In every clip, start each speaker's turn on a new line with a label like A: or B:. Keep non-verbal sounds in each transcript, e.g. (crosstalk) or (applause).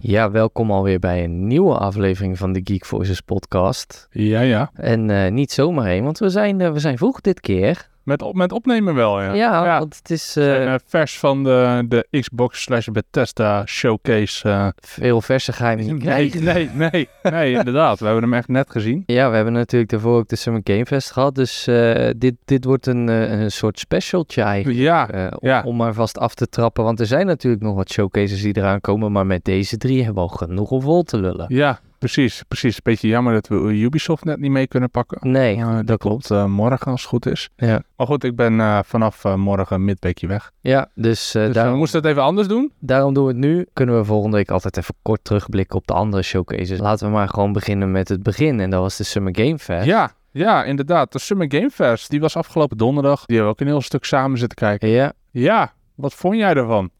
A: Ja, welkom alweer bij een nieuwe aflevering van de Geek Voices podcast.
B: Ja, ja.
A: En eh, niet zomaar heen, want we zijn, eh, we zijn vroeg dit keer.
B: Met, op, met opnemen wel, ja.
A: Ja,
B: ja.
A: want het is
B: We
A: eh,
B: zijn, eh, vers van de, de Xbox slash Bethesda showcase. eh.
A: veel verse geheim niet
B: (laughs) nee,
A: krijgen.
B: nee, nee, nee, inderdaad. We hebben hem echt net gezien.
A: Ja, we hebben natuurlijk daarvoor ook de Summer Game Fest gehad, dus eh, dit, dit wordt een, eh, een soort specialtje eigenlijk.
B: Ja,
A: eh, om,
B: ja.
A: om maar vast af te trappen, want er zijn natuurlijk nog wat showcases die eraan komen, maar met deze drie hebben we al genoeg om vol te lullen.
B: ja, precies, precies. Beetje jammer dat we Ubisoft net niet mee kunnen pakken.
A: Nee,
B: Eh, dat klopt. eh, morgen als het goed is.
A: Ja.
B: Maar goed, ik ben eh, vanaf eh, morgen midweekje weg.
A: ja, dus, eh,
B: Dus
A: daarom,
B: we moesten het even anders doen.
A: daarom doen we het nu. Kunnen we volgende week altijd even kort terugblikken op de andere showcases. Laten we maar gewoon beginnen met het begin en dat was de Summer Game Fest.
B: Ja, ja, inderdaad. De Summer Game Fest, die was afgelopen donderdag. Die hebben we ook een heel stuk samen zitten kijken.
A: Ja,
B: Ja, wat vond jij ervan?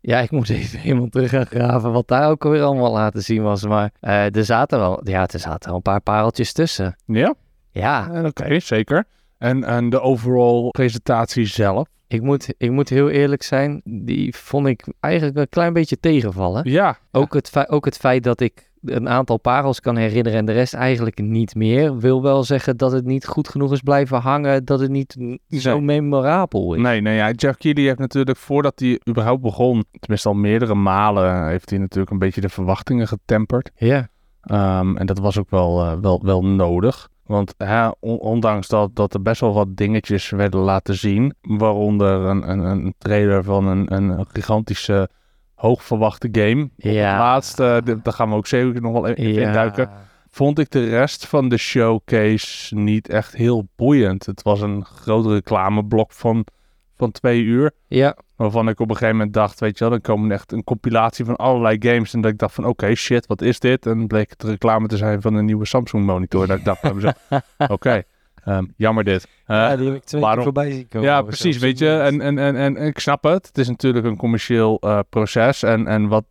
A: Ja, ik moet even (laughs) helemaal terug gaan graven wat daar ook alweer allemaal laten zien was. Maar eh, er zaten wel, ja, er zaten wel een paar pareltjes tussen.
B: Ja?
A: Ja,
B: En Ah, Oké, zeker. En, en de overall presentatie zelf.
A: ik moet, ik moet heel eerlijk zijn, die vond ik eigenlijk een klein beetje tegenvallen.
B: Ja,
A: Ook, het fe- ook het feit dat ik een aantal parels kan herinneren en de rest eigenlijk niet meer, wil wel zeggen dat het niet goed genoeg is blijven hangen, dat het niet zo
B: Nee.
A: memorabel is.
B: nee, nee, ja. Jeff Keighley heeft natuurlijk voordat hij überhaupt begon, tenminste al meerdere malen, eh, heeft hij natuurlijk een beetje de verwachtingen getemperd.
A: Ja,
B: Ehm, en dat was ook wel, eh, wel, wel nodig. Want hè, on- ondanks dat, dat er best wel wat dingetjes werden laten zien, waaronder een, een, een trailer van een, een gigantische hoogverwachte game.
A: Ja.
B: Laatste, eh, daar gaan we ook zeker nog wel even in duiken. vond ik de rest van de showcase niet echt heel boeiend. Het was een groot reclameblok van, van twee uur.
A: Ja,
B: Waarvan ik op een gegeven moment dacht, weet je wel, dan komen echt een compilatie van allerlei games. En dat ik dacht van, oké, shit, wat is dit? En bleek het reclame te zijn van een nieuwe Samsung monitor. Dat ik dacht bij mezelf, oké, ehm, jammer dit. Eh,
A: die heb ik twee
B: waarom-
A: voorbij zien komen.
B: ja, precies, weet je. En, en, en, en ik snap het. Het is natuurlijk een commercieel eh, proces. En, en wat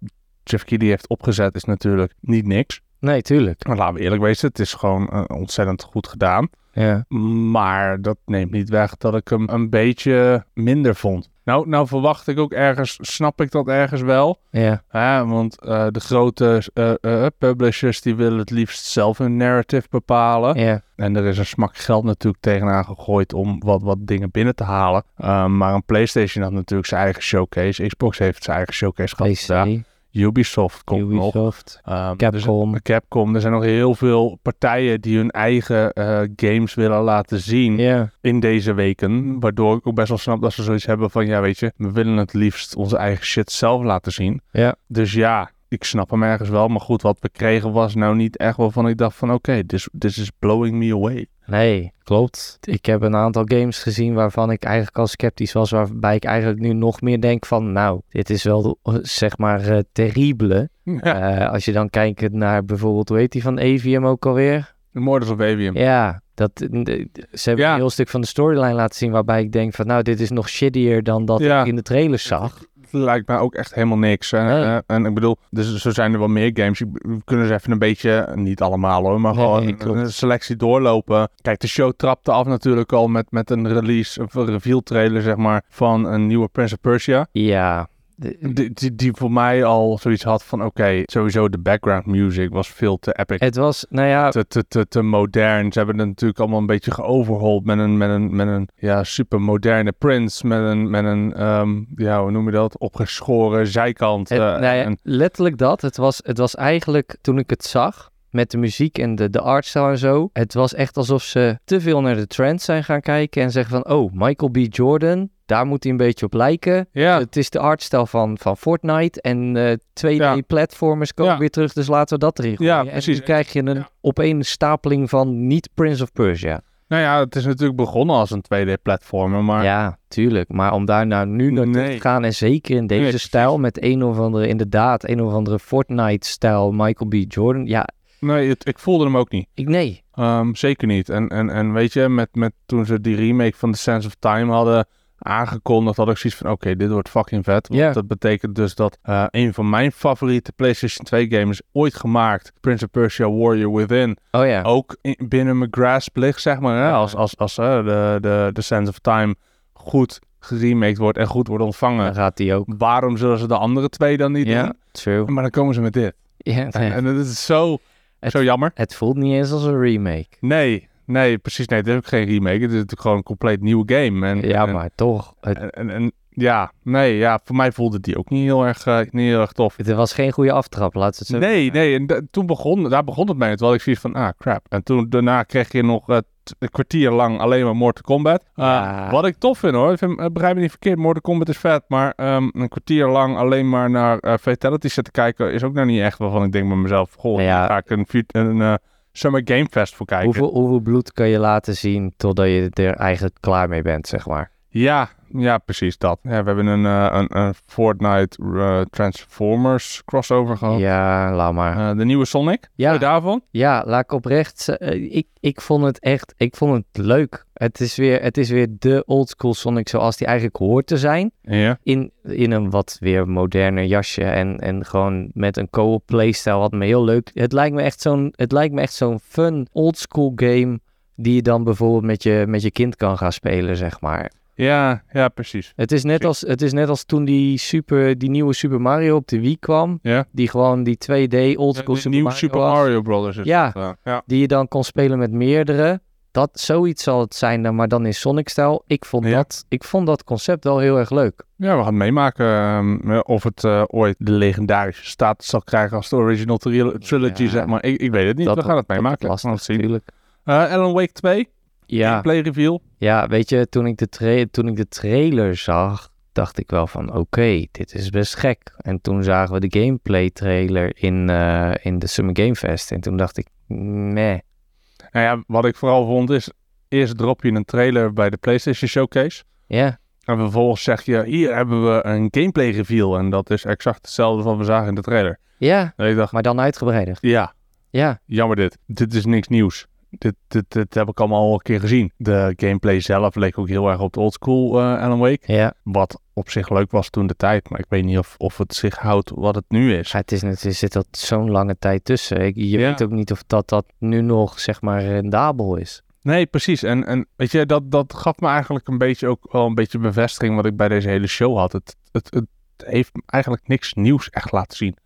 B: Jeff Keighley heeft opgezet is natuurlijk niet niks.
A: Nee, tuurlijk.
B: Maar Nou, laten we eerlijk wezen, het is gewoon eh, ontzettend goed gedaan.
A: Ja.
B: Maar dat neemt niet weg dat ik hem een beetje minder vond. Nou, nou verwacht ik ook ergens, snap ik dat ergens wel.
A: Ja,
B: Hè? Want eh, de grote eh, eh, publishers die willen het liefst zelf hun narrative bepalen.
A: ja.
B: En er is een smak geld natuurlijk tegenaan gegooid om wat, wat dingen binnen te halen. Eh, maar een PlayStation had natuurlijk zijn eigen showcase. Xbox heeft zijn eigen showcase gehad.
A: PC,
B: Ja, Ubisoft komt nog.
A: Ubisoft,
B: Ehm, er zijn-
A: Capcom.
B: Capcom. Er zijn nog heel veel partijen die hun eigen eh, games willen laten zien
A: Ja,
B: in deze weken. Waardoor ik ook best wel snap dat ze zoiets hebben van, ja weet je, we willen het liefst onze eigen shit zelf laten zien.
A: Ja.
B: Dus ja, ik snap hem ergens wel. Maar goed, wat we kregen was nou niet echt waarvan ik dacht van, oké, this, this is blowing me away.
A: nee, klopt. Ik heb een aantal games gezien waarvan ik eigenlijk al sceptisch was, waarbij ik eigenlijk nu nog meer denk van, nou, dit is wel, de, eh, zeg maar, eh, terrible.
B: Ja.
A: Eh, als je dan kijkt naar bijvoorbeeld, hoe heet die van Avium ook alweer?
B: De Morders of Avium.
A: Ja, dat, de- de- ze hebben
B: Ja.
A: een heel stuk van de storyline laten zien waarbij ik denk van, nou, dit is nog shittier dan dat
B: Ja.
A: ik in de trailer zag.
B: Het lijkt mij ook echt helemaal niks. En,
A: Nee.
B: eh, en ik bedoel, dus zo zijn er wel meer games. Ik- We kunnen ze even een beetje, niet allemaal hoor, maar
A: Nee,
B: gewoon
A: nee,
B: een-
A: klopt.
B: een selectie doorlopen. Kijk, de show trapte af natuurlijk al met, met een release, of een reveal trailer zeg maar, van een nieuwe Prince of Persia.
A: Ja, de-
B: Die, die, die voor mij al zoiets had van, oké, sowieso de background music was veel te epic.
A: het was, nou ja,
B: Te, te, te, te modern. Ze hebben het natuurlijk allemaal een beetje geoverhold met een, met een, met een ja, super moderne Prince. Met een, met een ehm, ja, hoe noem je dat? Opgeschoren zijkant.
A: Het-
B: eh,
A: nou ja,
B: en-
A: Letterlijk dat. Het was, het was eigenlijk, toen ik het zag, met de muziek en de, de artstyle en zo. Het was echt alsof ze te veel naar de trends zijn gaan kijken en zeggen van... Oh, Michael B. Jordan, daar moet hij een beetje op lijken.
B: Ja,
A: Het is de artstyle van, van Fortnite en eh 2D-platformers komen
B: Ja.
A: weer terug, dus laten we dat erin gooien.
B: Ja,
A: En
B: precies.
A: dan krijg je een
B: Ja.
A: opeenstapeling van niet Prince of Persia.
B: nou ja, het is natuurlijk begonnen als een 2D-platformer, maar
A: Ja, tuurlijk. Maar om daar nou nu naartoe
B: Nee.
A: te gaan en zeker in deze
B: Nee, precies.
A: stijl met een of andere, inderdaad, een of andere Fortnite-stijl Michael B. Jordan. Ja,
B: nee, het- ik voelde hem ook niet.
A: ik nee.
B: Ehm, zeker niet. En, en, en weet je, met, met, toen ze die remake van The Sense of Time hadden aangekondigd, had ik zoiets van, oké, dit wordt fucking vet. Want
A: Ja.
B: dat betekent dus dat eh, een van mijn favoriete PlayStation 2 games ooit gemaakt, Prince of Persia Warrior Within,
A: Oh ja.
B: ook in- binnen mijn grasp ligt, zeg maar. Hè?
A: Ja.
B: Als, als, als eh, de, de, de Sense of Time goed geremaked wordt en goed wordt ontvangen.
A: Dan gaat die ook.
B: Waarom zullen ze de andere twee dan niet
A: Ja, true.
B: doen? Maar dan komen ze met dit.
A: Ja, nee.
B: En dat is zo,
A: Het-
B: zo jammer.
A: (laughs) Het voelt niet eens als een remake.
B: Nee, nee, precies. Nee, het is ook geen remake. Het is natuurlijk gewoon een compleet nieuwe game. En,
A: Ja,
B: en-
A: maar toch. Het,
B: En, en, en- ja, nee, ja, voor mij voelde die ook niet heel erg, eh, niet heel erg tof.
A: het was geen goede aftrap, laat het zo
B: Nee, nee, en da- toen begon, daar begon het mee. Terwijl ik zoiets van, ah, crap. En toen, daarna kreeg je nog eh, t- een kwartier lang alleen maar Mortal Kombat. Eh,
A: Ja.
B: Wat ik tof vind hoor, ik vind, eh, begrijp me niet verkeerd, Mortal Kombat is vet. Maar ehm, een kwartier lang alleen maar naar eh fatalities zitten kijken is ook nou niet echt waarvan ik denk bij mezelf, goh,
A: Nou ja.
B: daar ga ik een, vuur- een eh, Summer Game Fest voor kijken.
A: Hoeveel, hoeveel bloed kan je laten zien totdat je er eigenlijk klaar mee bent, zeg maar?
B: Ja, ja, precies dat. Ja, we hebben een, eh, een, een Fortnite eh, Transformers crossover
A: Oh.
B: gehad.
A: Ja, laat maar.
B: Eh, de nieuwe Sonic.
A: Ja.
B: Hou je daarvan?
A: Ja, laat ik oprecht. ze- eh, ik, ik vond het echt. Ik vond het leuk. Het is weer, het is weer de oldschool Sonic zoals die eigenlijk hoort te zijn.
B: Ja.
A: In, in een wat weer moderner jasje. En, en gewoon met een co-op playstyle. Wat me heel leuk. Het lijkt me echt zo'n. Het lijkt me echt zo'n fun oldschool game. Die je dan bijvoorbeeld met je, met je kind kan gaan spelen, zeg maar.
B: Ja, ja, precies.
A: Het is net als, het is net als toen die, super, die nieuwe Super Mario op de Wii kwam.
B: Ja.
A: Die gewoon die 2D oldschool
B: De
A: Super
B: nieuwe
A: Mario
B: Super
A: was.
B: Mario Brothers. Is
A: Ja.
B: dat, eh, ja.
A: die je dan kon spelen met meerdere. Dat, zoiets zal het zijn, dan, maar dan in Sonic-stijl. Ik, vond
B: Ja.
A: dat- ik vond dat concept wel heel erg leuk.
B: Ja, we gaan het meemaken ehm, eh, of het eh, ooit de legendarische status zal krijgen als de original tri- trilogy,
A: Ja.
B: zeg maar. Ik, ik weet het niet,
A: dat
B: we gaan het
A: dat wordt
B: meemaken.
A: lastig,
B: We gaan het zien.
A: natuurlijk.
B: Eh, Alan Wake 2,
A: Ja,
B: play reveal.
A: ja, weet je, toen ik, de tra- toen ik de trailer zag, dacht ik wel van... Oké, dit is best gek. En toen zagen we de gameplay-trailer in, eh, in de Summer Game Fest. En toen dacht ik, nee.
B: Nou ja, wat ik vooral vond is, eerst drop je een trailer bij de PlayStation Showcase.
A: Ja,
B: En vervolgens zeg je, hier hebben we een gameplay reveal. En dat is exact hetzelfde wat we zagen in de trailer.
A: ja,
B: En ik dacht,
A: maar dan uitgebreider.
B: ja,
A: Ja,
B: jammer dit. Dit is niks nieuws. Dit, dit, dit heb ik allemaal al een keer gezien. De gameplay zelf leek ook heel erg op de oldschool eh Alan Wake.
A: ja.
B: Wat op zich leuk was toen de tijd. Maar ik weet niet of, of het zich houdt wat het nu is.
A: Ja, het is, net- er zit dat zo'n lange tijd tussen. Ik, je
B: Ja.
A: weet ook niet of dat, dat nu nog, zeg maar, rendabel is.
B: Nee, precies. En, en weet je, dat, dat gaf me eigenlijk een beetje ook wel een beetje bevestiging wat ik bij deze hele show had. Het, het, het heeft eigenlijk niks nieuws echt laten zien.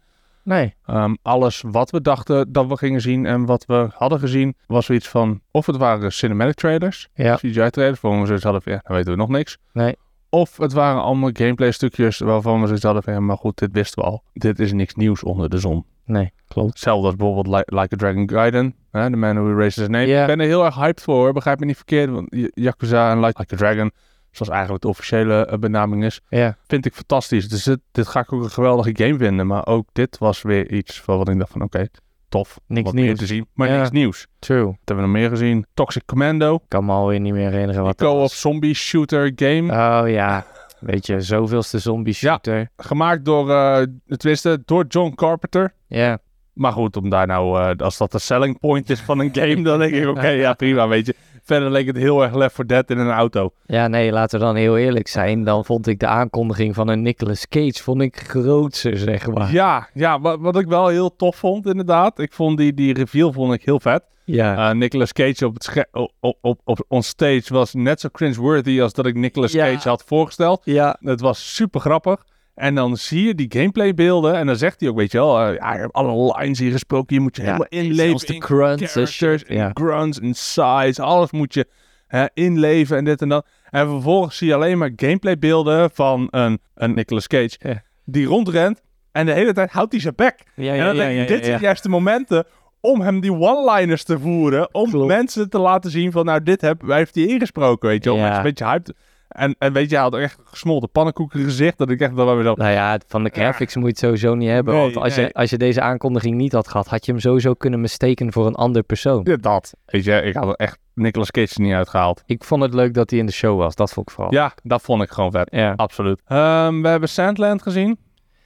A: Nee.
B: Ehm, alles wat we dachten dat we gingen zien en wat we hadden gezien, was zoiets van... Of het waren cinematic trailers,
A: Ja.
B: CGI-trailers, waarvan we zoiets hadden van... Ja, dan weten we nog niks.
A: Nee.
B: Of het waren allemaal gameplay-stukjes waarvan we zoiets hadden van... Ja, maar goed, dit wisten we al. Dit is niks nieuws onder de zon.
A: Nee, klopt.
B: Hetzelfde als bijvoorbeeld Li- Like a Dragon Gaiden. Hè, the Man Who Raised His Name.
A: Ja.
B: Ik ben er heel erg hyped voor, hoor. begrijp me niet verkeerd. Want Y- Yakuza en like, Like a Dragon, zoals eigenlijk de officiële eh, benaming is,
A: Ja.
B: vind ik fantastisch. Dus dit, dit ga ik ook een geweldige game vinden. Maar ook dit was weer iets van wat ik dacht van oké, tof.
A: Niks
B: wat meer
A: nieuws.
B: te zien, maar
A: Ja.
B: niks nieuws.
A: True.
B: Wat hebben we nog meer gezien? Toxic Commando,
A: Ik kan me alweer niet meer herinneren
B: die
A: wat dat
B: co-op
A: was.
B: zombie shooter game.
A: Oh ja. Weet je, zoveelste zombie shooter.
B: Gemaakt door, eh, tenminste, door John Carpenter.
A: Ja.
B: Maar goed, om daar nou, eh, als dat de selling point is
A: (laughs)
B: van een game, dan denk ik, oké, ja, prima, weet je. Verder leek het heel erg Left 4 Dead in een auto.
A: Ja, nee, laten we dan heel eerlijk zijn. Dan vond ik de aankondiging van een Nicolas Cage vond ik grootser, zeg maar.
B: Ja, ja wat, wat ik wel heel tof vond, inderdaad. Ik vond die, die reveal vond ik heel vet.
A: Ja.
B: Eh, Nicolas Cage op, het sche- op, op, op, op on stage was net zo cringeworthy als dat ik Nicolas
A: Ja.
B: Cage had voorgesteld.
A: ja.
B: Het was super grappig. En dan zie je die gameplay beelden en dan zegt hij ook, weet je wel, eh, ja, je hebt alle lines hier gesproken, je moet je helemaal
A: Zelfs
B: inleven
A: de
B: in
A: crunts. en
B: characters,
A: shit.
B: en
A: Ja.
B: grunts en size. Alles moet je hè, inleven en dit en dat. En vervolgens zie je alleen maar gameplaybeelden van een, een Nicolas Cage
A: Ja.
B: die rondrent. En de hele tijd houdt hij zijn bek.
A: Ja,
B: en
A: ja,
B: dan
A: ja,
B: denk
A: ja,
B: ik, dit
A: ja,
B: zijn
A: ja.
B: juist de momenten om hem die one-liners te voeren. Om
A: Klopt.
B: mensen te laten zien van, nou, dit heb, wij heeft hij ingesproken, weet je wel.
A: Ja.
B: Mensen Een beetje hyped. En, en weet je, hij had echt een gesmolten pannenkoeken gezicht. Dat ik echt wel bij mezelf...
A: Nou ja, van de graphics moet je het sowieso niet hebben.
B: Nee,
A: want als,
B: nee.
A: je, als je deze aankondiging niet had gehad, had je hem sowieso kunnen mistaken voor een ander persoon.
B: dit, Dat. Weet je, ik had er echt Nicolas Cage er niet uitgehaald.
A: Ik vond het leuk dat hij in de show was. Dat vond ik vooral.
B: Ja, dat vond ik gewoon vet.
A: Ja.
B: Absoluut. we hebben Sandland gezien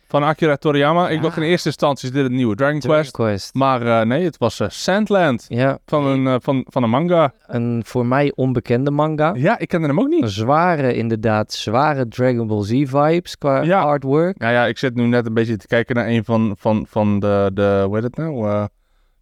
B: van Akira Toriyama. Ik
A: Ja.
B: dacht in eerste instantie is dit het nieuwe Dragon Quest.
A: Quest.
B: Maar eh, nee, het was eh, Sandland
A: Ja,
B: van een, eh, van, van een manga.
A: een voor mij onbekende manga.
B: Ja, ik kende hem ook niet.
A: Een zware, inderdaad, zware Dragon Ball Z vibes qua
B: Ja.
A: artwork.
B: Nou ja, ik zit nu net een beetje te kijken naar een van, van, van de, de, hoe heet het nou? Eh,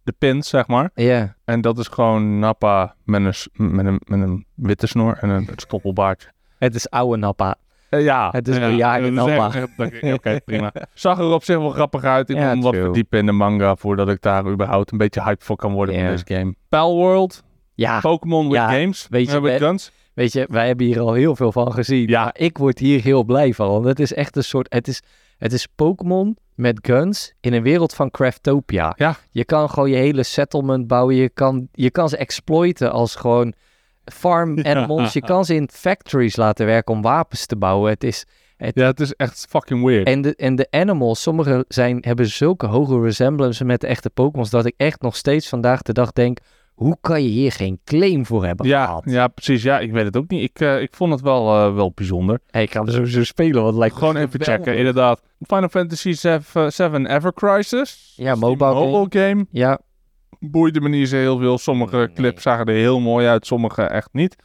B: de pins, zeg maar.
A: Ja,
B: En dat is gewoon Nappa met een, s- met een, met een witte snor en een stoppelbaard.
A: Het is oude Nappa.
B: Eh, ja,
A: Het is
B: ja,
A: bejaarde
B: dat is
A: Nappa.
B: echt- echt- Oké, (laughs) prima. Zag er op zich wel grappig uit. Ik
A: Ja,
B: moet wat
A: chill.
B: verdiepen in de manga voordat ik daar überhaupt een beetje hype voor kan worden
A: Ja.
B: in deze game. Palworld,
A: Ja,
B: Pokémon with
A: ja,
B: games,
A: weet je,
B: eh, with
A: we-
B: guns.
A: weet je, wij hebben hier al heel veel van gezien.
B: Ja.
A: Maar ik word hier heel blij van. Want het is echt een soort... Het is, het is Pokémon met guns in een wereld van Craftopia.
B: Ja.
A: Je kan gewoon je hele settlement bouwen. Je kan, je kan ze exploiten als gewoon farm
B: (laughs) Ja.
A: animals. Je kan ze in factories laten werken om wapens te bouwen. Het is...
B: Ja, het is echt fucking weird.
A: En de, en de animals, sommige zijn, hebben zulke hoge resemblances met de echte Pokémons... dat ik echt nog steeds vandaag de dag denk... Hoe kan je hier geen claim voor hebben
B: Ja,
A: gehaald?
B: ja, precies. Ja, ik weet het ook niet. Ik, eh, ik vond het wel, eh, wel bijzonder.
A: Hey, ik ga hem sowieso spelen, want het lijkt me
B: Gewoon even
A: geweldig.
B: checken, inderdaad. Final Fantasy 7 Ever Crisis.
A: Ja,
B: Die
A: mobile game.
B: mobile game.
A: Ja,
B: Boeide me niet zo heel veel. Sommige
A: Nee.
B: clips zagen er heel mooi uit, sommige echt niet.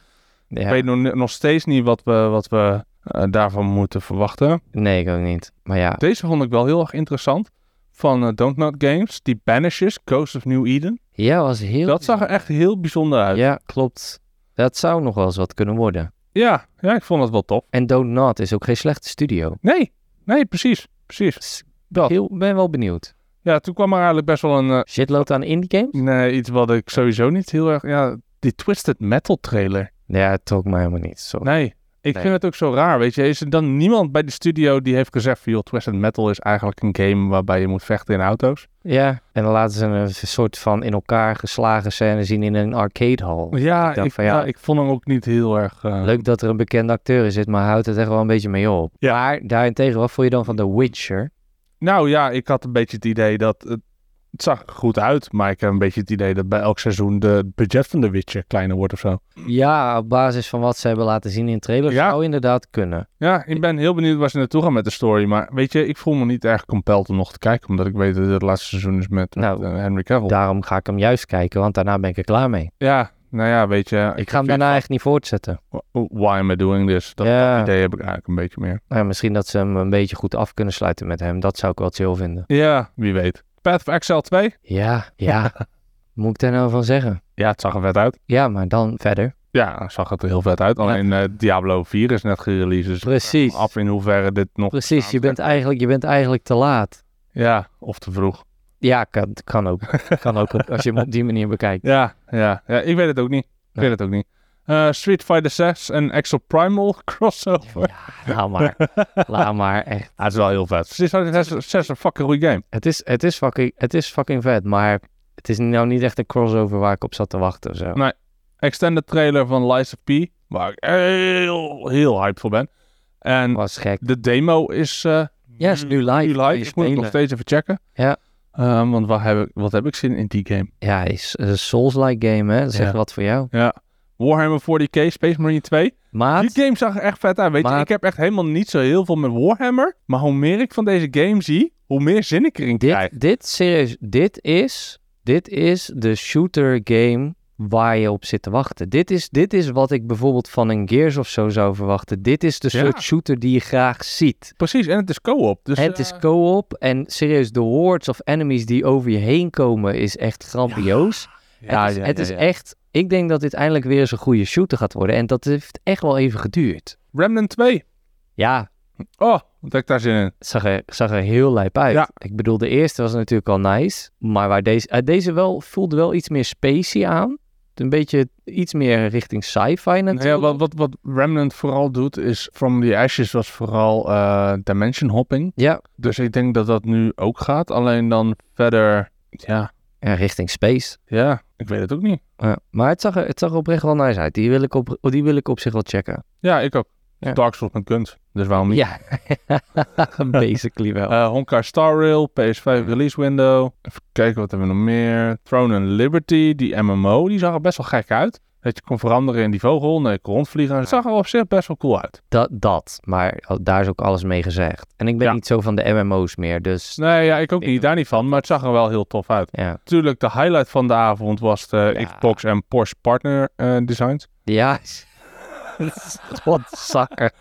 A: ja.
B: Ik weet nog, nog steeds niet wat we, wat we eh, daarvan moeten verwachten.
A: nee, ik ook niet. Maar ja,
B: Deze vond ik wel heel erg interessant. Van eh, Don't Not Games, die Banishes, Ghost of New Eden.
A: ja was heel...
B: Dat zag er echt heel bijzonder uit. Ja,
A: Ja, klopt. Dat zou nog wel eens wat kunnen worden.
B: ja, ik vond het wel top.
A: En Don't Not is ook geen slechte studio.
B: Nee, nee, precies. Precies.
A: Dus
B: Dat.
A: Heel, ben wel benieuwd.
B: Ja, toen kwam er eigenlijk best wel een, eh,
A: Shitloopt aan indie games?
B: Nee, iets wat ik sowieso niet heel erg. Ja, die Twisted Metal trailer.
A: Ja, het trok me helemaal niet. Sorry.
B: Nee, ik
A: Nee.
B: vind het ook zo raar. Weet je, is er dan niemand bij de studio die heeft gezegd: van, joh, Twisted Metal is eigenlijk een game waarbij je moet vechten in auto's?
A: Ja, en dan laten ze een soort van in elkaar geslagen scène zien in een arcadehal.
B: Ja,
A: Ik
B: ik,
A: dacht van, ja.
B: ja. ik vond hem ook niet heel erg. eh,
A: Leuk dat er een bekende acteur in zit, maar houdt het echt wel een beetje mee op.
B: Ja.
A: Maar daarentegen, wat vond je dan van The Witcher?
B: Nou ja, ik had een beetje het idee dat. Het, het zag er goed uit, maar ik heb een beetje het idee dat bij elk seizoen de het budget van de Witcher kleiner wordt of zo.
A: Ja, op basis van wat ze hebben laten zien in trailers
B: Ja.
A: zou inderdaad kunnen.
B: Ja, ik ben heel benieuwd waar ze naartoe gaan met de story. Maar weet je, ik voel me niet erg compelled om nog te kijken. Omdat ik weet dat het laatste seizoen is met, met,
A: Nou,
B: eh, Henry Cavill.
A: Daarom ga ik hem juist kijken, want daarna ben ik er klaar mee.
B: Ja, nou ja, weet je.
A: Ik ga hem daarna echt niet voortzetten.
B: Why am I doing this? Dat
A: ja.
B: idee heb ik eigenlijk een beetje meer.
A: Nou ja, misschien dat ze hem een beetje goed af kunnen sluiten met hem. Dat zou ik wel chill vinden.
B: Ja, wie weet. Path of Exile 2?
A: Ja, (laughs) ja. Moet ik daar nou van zeggen?
B: Ja, het zag er vet uit.
A: Ja, maar dan verder.
B: Ja, het zag het er heel vet uit. Alleen eh, Diablo 4 is net gereleased. Dus ik vraag
A: Precies.
B: me af in hoeverre dit nog...
A: Precies, je bent eigenlijk, je bent eigenlijk te laat.
B: Ja, of te vroeg.
A: Ja, kan, kan (laughs) ook. Kan ook op- als je hem op die manier bekijkt.
B: Ja, ja, ja ik weet het ook niet. Ik
A: Ja.
B: weet het ook niet. Eh, Street Fighter 6 en Exo Primal (laughs) crossover.
A: Ja, laat maar. (laughs) Laat maar, echt.
B: Ja, het is wel heel vet. Street Fighter 6, 6 is een fucking goede game.
A: Het is, het, is fucking, het is fucking vet, maar het is nou niet echt een crossover waar ik op zat te wachten of zo.
B: Extended trailer van Lies of P. Waar ik heel, heel hyped voor ben. En
A: was gek.
B: De demo is, eh
A: Ja, is Mm, nu live.
B: nu
A: Kun je
B: live. Ik moet het nog
A: spelen.
B: steeds even checken.
A: Ja.
B: Ehm, want wat heb, ik, wat heb ik zin in die game?
A: Ja, is een Souls-like game, hè? Dat is
B: Ja.
A: echt wat voor jou.
B: Ja. Warhammer 40k, Space Marine 2.
A: Maat,
B: Die game zag er echt vet uit. Weet je,
A: Maat.
B: ik heb echt helemaal niet zo heel veel met Warhammer. Maar hoe meer ik van deze game zie, hoe meer zin ik erin krijg.
A: dit, dit, serieus, dit is, dit is de shooter game waar je op zit te wachten. Dit is, dit is wat ik bijvoorbeeld van een Gears of zo zou verwachten. Dit is de
B: Ja.
A: soort shooter die je graag ziet.
B: Precies, en het is co-op. Dus,
A: het
B: eh,
A: is co-op en serieus, de hordes of enemies die over je heen komen is echt grandioos.
B: ja,
A: het is,
B: ja,
A: het
B: ja,
A: is
B: ja.
A: echt, ik denk dat dit eindelijk weer eens een goede shooter gaat worden. En dat heeft echt wel even geduurd.
B: Remnant 2.
A: Ja,
B: Oh, wat heb ik daar zin in?
A: het zag er, zag er heel lijp uit.
B: Ja.
A: Ik bedoel, de eerste was natuurlijk al nice. Maar waar deze, eh, deze wel, voelde wel iets meer spacey aan. Een beetje iets meer richting sci-fi natuurlijk.
B: Nou Ja, wat, wat, wat Remnant vooral doet is, From the Ashes was vooral eh, dimension hopping.
A: Ja,
B: Dus ik denk dat dat nu ook gaat. Alleen dan verder. Ja,
A: en richting space.
B: ja, ik weet het ook niet.
A: Ja, maar het zag, er, het zag er oprecht wel nice uit. Die wil ik op, oh, die wil ik op zich wel
B: (laughs)
A: checken.
B: Ja, ik ook.
A: Ja.
B: Dark Souls met guns. Dus waarom niet?
A: Ja, (laughs) basically wel.
B: Eh, Honkai Star Rail, PS5 release window. Even kijken wat hebben we nog meer. Throne and Liberty, die MMO, die zag er best wel gek uit. Dat je kon veranderen in die vogel, nee, kon rondvliegen. Het zag er op zich best wel cool uit.
A: Dat, dat, maar oh, daar is ook alles mee gezegd. En ik ben
B: Ja.
A: niet zo van de MMO's meer, dus
B: Nee, ja, ik ook
A: Ik
B: niet,
A: ook.
B: daar niet van, maar het zag er wel heel tof uit.
A: ja.
B: Natuurlijk, de highlight van de avond was de
A: Ja.
B: Xbox en Porsche partner eh, designs.
A: Ja, (laughs) wat zakker.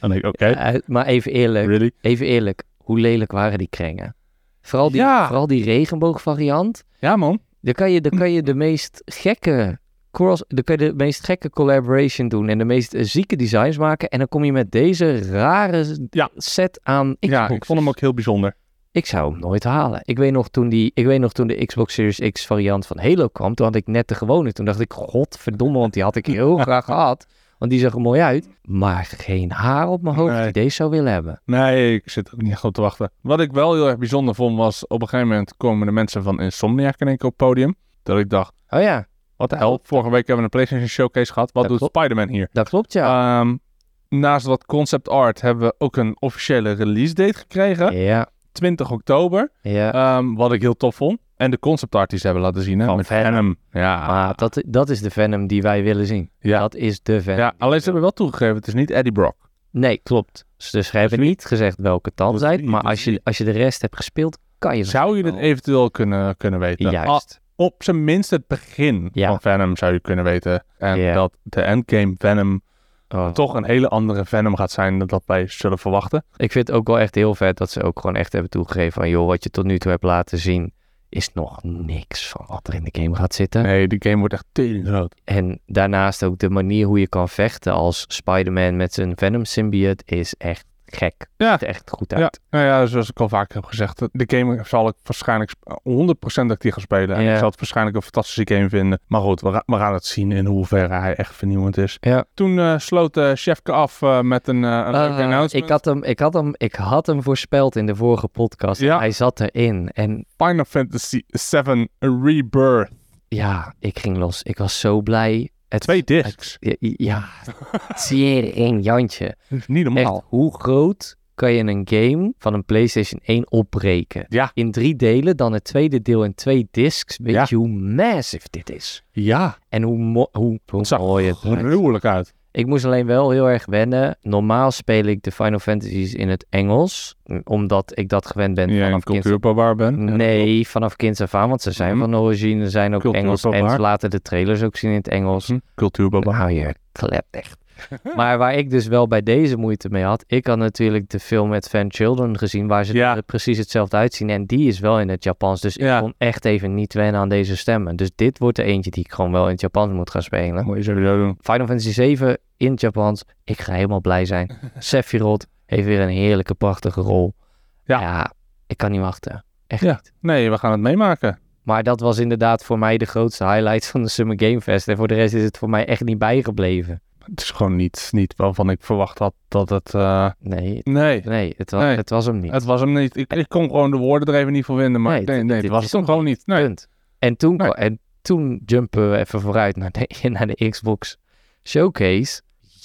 B: En ik, oké,
A: Eh, maar even eerlijk,
B: really?
A: even eerlijk, hoe lelijk waren die kringen? Vooral die,
B: Ja.
A: vooral die regenboogvariant.
B: Ja man,
A: Dan kan, je, dan kan je de meest gekke cross, dan kun je de meest gekke collaboration doen en de meest eh, zieke designs maken. En dan kom je met deze rare
B: Ja.
A: set aan Xbox.
B: Ja, ik vond hem ook heel bijzonder.
A: Ik zou hem nooit halen. Ik weet nog toen, die, ik weet nog toen de Xbox Series X variant van Halo kwam. Toen had ik net de gewone. Toen dacht ik, godverdomme, want die had
B: (laughs)
A: ik heel graag gehad. Want die zag er mooi uit. Maar geen haar op mijn hoofd
B: Nee.
A: die deze zou willen hebben.
B: Nee, ik zit ook niet echt op te wachten. Wat ik wel heel erg bijzonder vond was, op een gegeven moment komen de mensen van Insomniac in één keer op het podium. Dat ik dacht,
A: Oh ja,
B: wat de hel, vorige week hebben we een PlayStation Showcase gehad. Wat
A: Dat
B: doet
A: klopt.
B: Spider-Man hier?
A: dat klopt ja.
B: Ehm, naast wat concept art hebben we ook een officiële release date gekregen.
A: ja,
B: 20 oktober.
A: ja.
B: Ehm, wat ik heel tof vond. En de concept art die ze hebben laten zien. Hè,
A: Van
B: met
A: Venom.
B: Ja.
A: maar dat, dat is de Venom die wij willen zien.
B: Ah. Ja.
A: Dat is de Venom.
B: ja, alleen ze hebben wel toegegeven, het is niet Eddie Brock.
A: Nee, klopt. Ze dus hebben
B: niet-
A: niet gezegd welke tand
B: Dat is
A: zijn.
B: niet-
A: Maar
B: dat is
A: als je,
B: niet.
A: als je de rest hebt gespeeld, kan je
B: Zou je
A: wel.
B: het eventueel kunnen, kunnen weten?
A: Oh. Juist.
B: Ah, op zijn minst het begin
A: Ja.
B: van Venom zou je kunnen weten. En
A: Ja.
B: dat de endgame Venom
A: Oh.
B: toch een hele andere Venom gaat zijn dan dat wij zullen verwachten.
A: Ik vind het ook wel echt heel vet dat ze ook gewoon echt hebben toegegeven van... joh, wat je tot nu toe hebt laten zien is nog niks van wat er in de game gaat zitten.
B: Nee, die game wordt echt tering groot.
A: En daarnaast ook de manier hoe je kan vechten als Spider-Man met zijn Venom-symbiote is echt gek.
B: Ja.
A: Ziet er echt goed uit.
B: Ja, nou ja, zoals ik al vaak heb gezegd, de game zal ik waarschijnlijk sp- 100% dat ik die ga spelen. En
A: Ja.
B: ik zal het waarschijnlijk een fantastische game vinden. Maar goed, we, ra- we gaan het zien in hoeverre hij echt vernieuwend is.
A: Ja.
B: Toen eh, sloot eh Chefke af eh, met een, eh een leuke
A: Ah,
B: announcement.
A: ik, had hem, ik, had hem, ik had hem voorspeld in de vorige podcast.
B: Ja.
A: Hij zat erin. En
B: Final Fantasy VII Rebirth.
A: ja, ik ging los. Ik was zo blij. Het,
B: Twee discs.
A: Ja,
B: (laughs)
A: ja zeer één jantje.
B: Niet normaal.
A: Echt, hoe groot kan je een game van een PlayStation 1 opbreken?
B: Ja.
A: In drie delen, dan het tweede deel in twee discs. Weet
B: Ja.
A: je hoe massive dit is?
B: Ja,
A: En hoe, mo- hoe, hoe
B: het zag
A: mooi het is.
B: gruwelijk uit.
A: Ik moest alleen wel heel erg wennen. Normaal speel ik de Final Fantasies in het Engels. m, Omdat ik dat gewend ben
B: Jij een
A: vanaf kind
B: cultuurbarbaar ben.
A: Nee, vanaf kind af aan. Want ze zijn
B: Mhm.
A: van origine, zijn ook
B: Cultuur
A: Engels.
B: is wel
A: En ze
B: waar.
A: laten de trailers ook zien in het Engels.
B: Hm, Cultuurbarbaar.
A: Nou, je klept echt. (laughs) maar waar ik dus wel bij deze moeite mee had, ik had natuurlijk de film met Van Children gezien, waar ze
B: Ja.
A: er precies hetzelfde uitzien. En die is wel in het Japans. Dus
B: Ja.
A: ik kon echt even niet wennen aan deze stemmen. Dus dit wordt er eentje die ik gewoon wel in het Japans moet gaan spelen.
B: Moet je sowieso doen.
A: Final Fantasy 7 in het Japans. Ik ga helemaal blij zijn.
B: (laughs)
A: Sephiroth heeft weer een heerlijke, prachtige rol.
B: Ja.
A: ik kan niet wachten. Echt
B: Ja.
A: niet.
B: Nee, we gaan het meemaken.
A: Maar dat was inderdaad voor mij de grootste highlight van de Summer Game Fest. En voor de rest is het voor mij echt niet bijgebleven.
B: Het is gewoon niet, niet waarvan ik verwacht had dat het... eh,
A: Nee,
B: Nee,
A: Nee, het was,
B: Nee. Eh,
A: Het was hem niet.
B: Het was hem niet. Ik, ik kon gewoon de woorden er even niet voor vinden. Maar
A: Nee,
B: nee, nee,
A: dit-
B: het
A: dit
B: was
A: is
B: het hem gewoon niet. Nee.
A: Punt. En toen,
B: Nee.
A: kwa- en toen jumpen we even vooruit naar de, (laughs) naar de Xbox Showcase.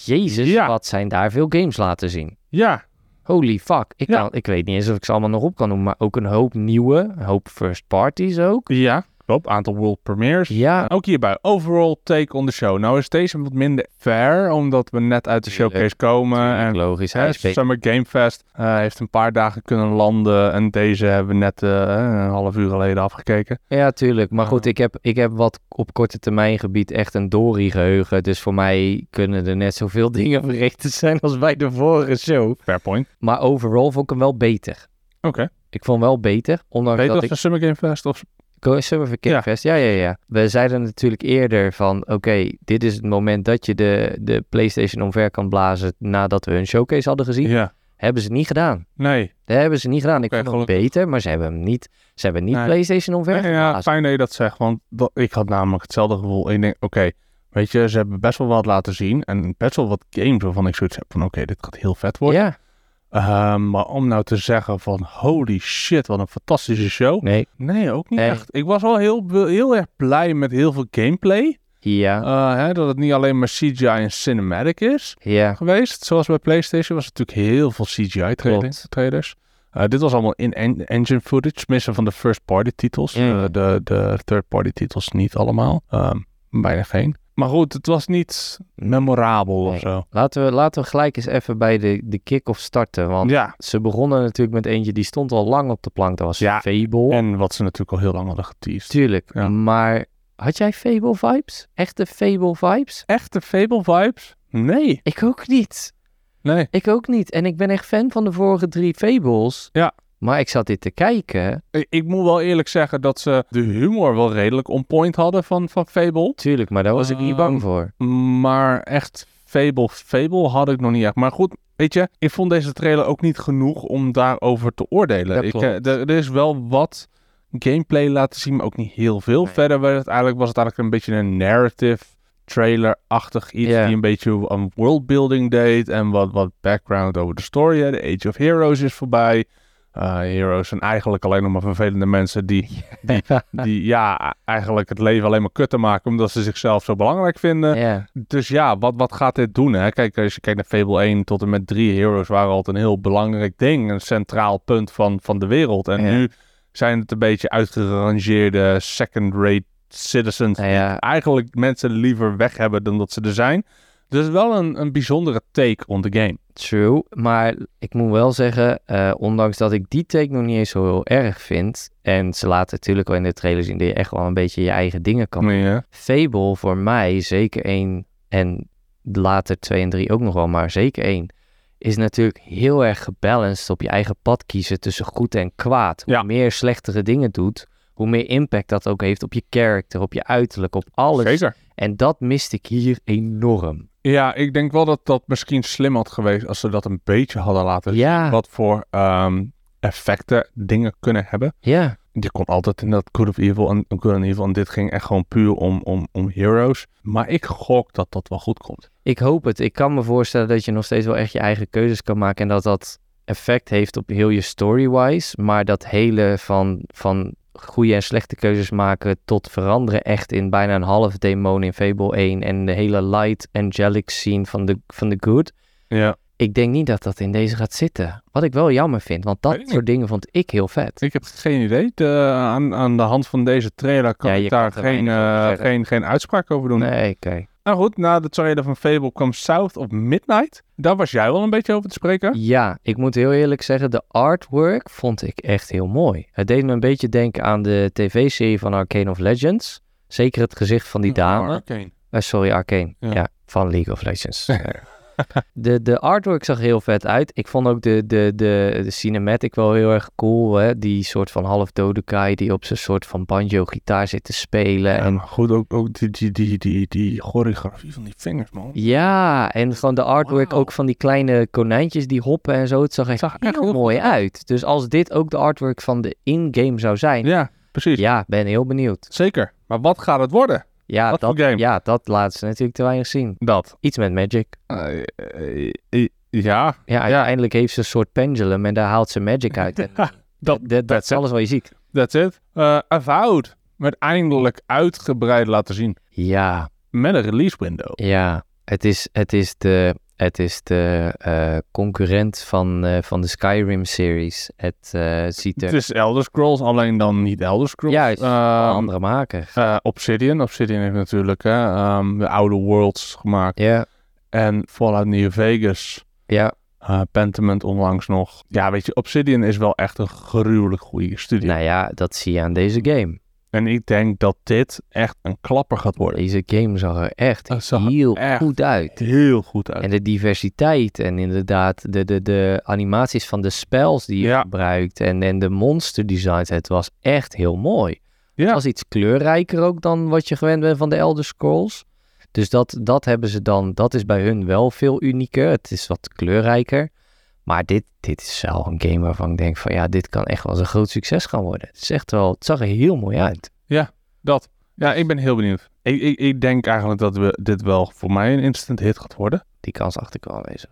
A: Jezus,
B: Ja.
A: wat zijn daar veel games laten zien.
B: Ja,
A: Holy fuck. Ik,
B: Ja.
A: kan, ik weet niet eens of ik ze allemaal nog op kan noemen, maar ook een hoop nieuwe, een hoop first parties ook.
B: ja, klopt. Aantal world premieres.
A: Ja,
B: Ook hierbij, overall take on the show. Nou is deze wat minder fair, omdat we net uit de
A: Tuurlijk.
B: showcase komen.
A: natuurlijk,
B: En
A: logisch. eh, Hij
B: hè,
A: is beter.
B: Summer Game Fest eh, heeft een paar dagen kunnen landen. En deze hebben we net eh, een half uur geleden afgekeken.
A: Ja, tuurlijk. Maar goed,
B: Ja.
A: ik heb, ik heb wat op korte termijn gebied echt een dory geheugen. Dus voor mij kunnen er net zoveel (laughs) dingen verricht zijn als bij de vorige show.
B: Fair point.
A: Maar overal vond ik hem wel beter.
B: Oké.
A: Ik vond hem wel beter, ondanks
B: Weet je
A: dat
B: wat
A: ik...
B: een Summer Game Fest? Of...
A: Go Summer
B: Ja.
A: Vacation Fest, ja, ja, ja. We zeiden natuurlijk eerder van, oké, dit is het moment dat je de, de PlayStation omver kan blazen nadat we een showcase hadden gezien.
B: Ja.
A: Hebben ze niet gedaan.
B: Nee.
A: Dat hebben ze niet gedaan. Ik
B: Oké,
A: vond hem beter, maar ze hebben hem niet, ze hebben niet
B: Nee.
A: PlayStation omver
B: Ja, ja,
A: geblazen.
B: fijn dat je dat zegt, want dat, ik had namelijk hetzelfde gevoel. Ik denk, oké, weet je, ze hebben best wel wat laten zien en best wel wat games waarvan ik zoiets heb van, oké, dit gaat heel vet worden.
A: Ja,
B: Ehm, maar om nou te zeggen van, holy shit, wat een fantastische show.
A: nee.
B: Nee, ook niet
A: Nee.
B: echt. Ik was wel heel, heel erg blij met heel veel gameplay.
A: Ja,
B: Eh, hè, dat het niet alleen maar CGI en cinematic is
A: ja.
B: geweest. Zoals bij PlayStation was het natuurlijk heel veel CGI tra-
A: Klopt.
B: trailers. Eh, dit was allemaal in en- engine footage, missen van de first party titels.
A: Ja, ja.
B: Eh, de, de third party titels niet allemaal. Ehm, bijna geen. Maar goed, het was niet memorabel of
A: Nee.
B: zo.
A: Laten we, laten we gelijk eens even bij de, de kick-off starten. Want
B: Ja,
A: ze begonnen natuurlijk met eentje die stond al lang op de plank. Dat was
B: Ja.
A: Fable.
B: en wat ze natuurlijk al heel lang hadden geteased.
A: Tuurlijk,
B: Ja.
A: maar had jij Fable vibes? Echte Fable vibes?
B: Echte Fable vibes? Nee.
A: Ik ook niet.
B: Nee.
A: Ik ook niet. En ik ben echt fan van de vorige drie Fables.
B: Ja.
A: Maar ik zat dit te kijken.
B: Ik, ik moet wel eerlijk zeggen dat ze de humor wel redelijk on point hadden van, van Fable.
A: Tuurlijk, maar daar was ik niet bang
B: Ehm,
A: voor.
B: Maar echt Fable, Fable had ik nog niet echt. Maar goed, weet je, ik vond deze trailer ook niet genoeg om daarover te oordelen.
A: Dat
B: Ik,
A: klopt.
B: eh, d- er is wel wat gameplay laten zien, maar ook niet heel veel.
A: Nee.
B: Verder werd het eigenlijk, was het eigenlijk een beetje een narrative trailer-achtig iets
A: Ja.
B: die een beetje aan worldbuilding deed en wat, wat background over de story. hè. De Age of Heroes is voorbij. Eh, heroes zijn eigenlijk alleen nog maar vervelende mensen die
A: (laughs)
B: die ja, eigenlijk het leven alleen maar kut te maken omdat ze zichzelf zo belangrijk vinden.
A: Ja,
B: Dus ja, wat, wat gaat dit doen? Hè? Kijk, als je kijkt naar Fable 1 tot en met 3 Heroes waren altijd een heel belangrijk ding, een centraal punt van, van de wereld. En
A: Ja.
B: nu zijn het een beetje uitgerangeerde second-rate citizens.
A: nou ja,
B: Eigenlijk mensen liever weg hebben dan dat ze er zijn. Dus wel een, een bijzondere take on the game.
A: True, maar ik moet wel zeggen, eh, ondanks dat ik die take nog niet eens zo heel erg vind. En ze laten natuurlijk wel in de trailer zien dat je echt wel een beetje je eigen dingen kan.
B: Ja.
A: Fable voor mij, zeker één en later twee en drie ook nog wel, maar zeker één, is natuurlijk heel erg gebalanced op je eigen pad kiezen tussen goed en kwaad. Hoe
B: Ja.
A: meer je slechtere dingen doet, hoe meer impact dat ook heeft op je karakter, op je uiterlijk, op alles.
B: Zeker.
A: En dat miste ik hier enorm.
B: Ja, ik denk wel dat dat misschien slim had geweest als ze dat een beetje hadden laten zien.
A: Ja.
B: Wat voor ehm, effecten dingen kunnen hebben.
A: Ja,
B: Je kon altijd in dat Good of Evil en en Good and Evil. En dit ging echt gewoon puur om, om, om heroes. Maar ik gok dat dat wel goed komt.
A: ik hoop het. Ik kan me voorstellen dat je nog steeds wel echt je eigen keuzes kan maken. En dat dat effect heeft op heel je story-wise. Maar dat hele van, van goede en slechte keuzes maken tot veranderen echt in bijna een half demon in Fable 1. En de hele light angelic scene van de, van de good.
B: Ja.
A: Ik denk niet dat dat in deze gaat zitten. Wat ik wel jammer vind, want dat
B: Weet ik niet.
A: soort dingen vond ik heel vet.
B: Ik heb geen idee. De- aan, aan de hand van deze trailer kan
A: Ja, je
B: ik daar
A: kan er
B: geen,
A: weinig over
B: eh,
A: zeggen.
B: geen, geen uitspraak over doen.
A: Nee, oké.
B: Nou goed, na de trailer van Fable kwam South of Midnight. Daar was jij wel een beetje over te spreken.
A: Ja, ik moet heel eerlijk zeggen, de artwork vond ik echt heel mooi. Het deed me een beetje denken aan de tv-serie van Arcane of Legends. Zeker het gezicht van die dame.
B: Arcane.
A: Eh, sorry, Arcane. Ja.
B: Ja.
A: van League of Legends.
B: (laughs)
A: de, de artwork zag er heel vet uit. Ik vond ook de, de, de, de cinematic wel heel erg cool. Hè? Die soort van half dode guy die op zijn soort van banjo-gitaar zit te spelen.
B: Ja,
A: en
B: maar goed, ook, ook die, die, die, die, die choreografie van die vingers, man.
A: Ja, en gewoon de artwork
B: Wauw.
A: ook van die kleine konijntjes die hoppen en zo. Het zag echt,
B: Zag echt
A: heel
B: heel
A: mooi
B: goed uit.
A: uit. Dus als dit ook de artwork van de in-game zou zijn, ja,
B: Ja, precies.
A: ben heel benieuwd.
B: Zeker. Maar wat gaat het worden?
A: Ja,
B: Wat
A: dat,
B: voor game?
A: ja, dat laat ze natuurlijk te weinig zien.
B: Dat.
A: Iets met Magic.
B: Eh, ja.
A: Ja, uiteindelijk heeft ze een soort pendulum en daar haalt ze
B: (laughs)
A: Magic uit. En
B: Dat,
A: dat, dat
B: that's
A: is alles wat je ziet.
B: That's it. Eh Avowed. Met eindelijk uitgebreid laten zien.
A: Ja,
B: Met een release window.
A: ja. Het is, het is de, het is de eh, concurrent van, eh, van de Skyrim-series. Het eh, ziet
B: Het
A: er...
B: is Elder Scrolls, alleen dan niet Elder Scrolls.
A: Juist,
B: Eh,
A: andere maker.
B: eh, Obsidian. Obsidian heeft natuurlijk hè, ehm, de oude Worlds gemaakt.
A: Ja,
B: En Fallout New Vegas.
A: ja.
B: eh Pentiment onlangs nog. Ja, weet je, Obsidian is wel echt een gruwelijk goede studio.
A: Nou ja, dat zie je aan deze game.
B: En ik denk dat dit echt een klapper gaat worden.
A: Deze game zag er echt
B: Dat zag er
A: heel
B: echt
A: goed uit.
B: Heel goed uit.
A: En de diversiteit en inderdaad de, de, de animaties van de spells die je
B: Ja.
A: gebruikt en, en de monster designs. Het was echt heel mooi. Het
B: Ja.
A: was iets kleurrijker ook dan wat je gewend bent van de Elder Scrolls. Dus dat, dat hebben ze dan, dat is bij hun wel veel unieker. Het is wat kleurrijker. Maar dit, dit is wel een game waarvan ik denk van ja, dit kan echt wel eens een groot succes gaan worden. Het is echt wel, het zag er heel mooi uit.
B: Dat. Ja, ik ben heel benieuwd. Ik, ik, ik denk eigenlijk dat we, dit wel voor mij een instant hit gaat worden.
A: Die kans achter ik wel aanwezig.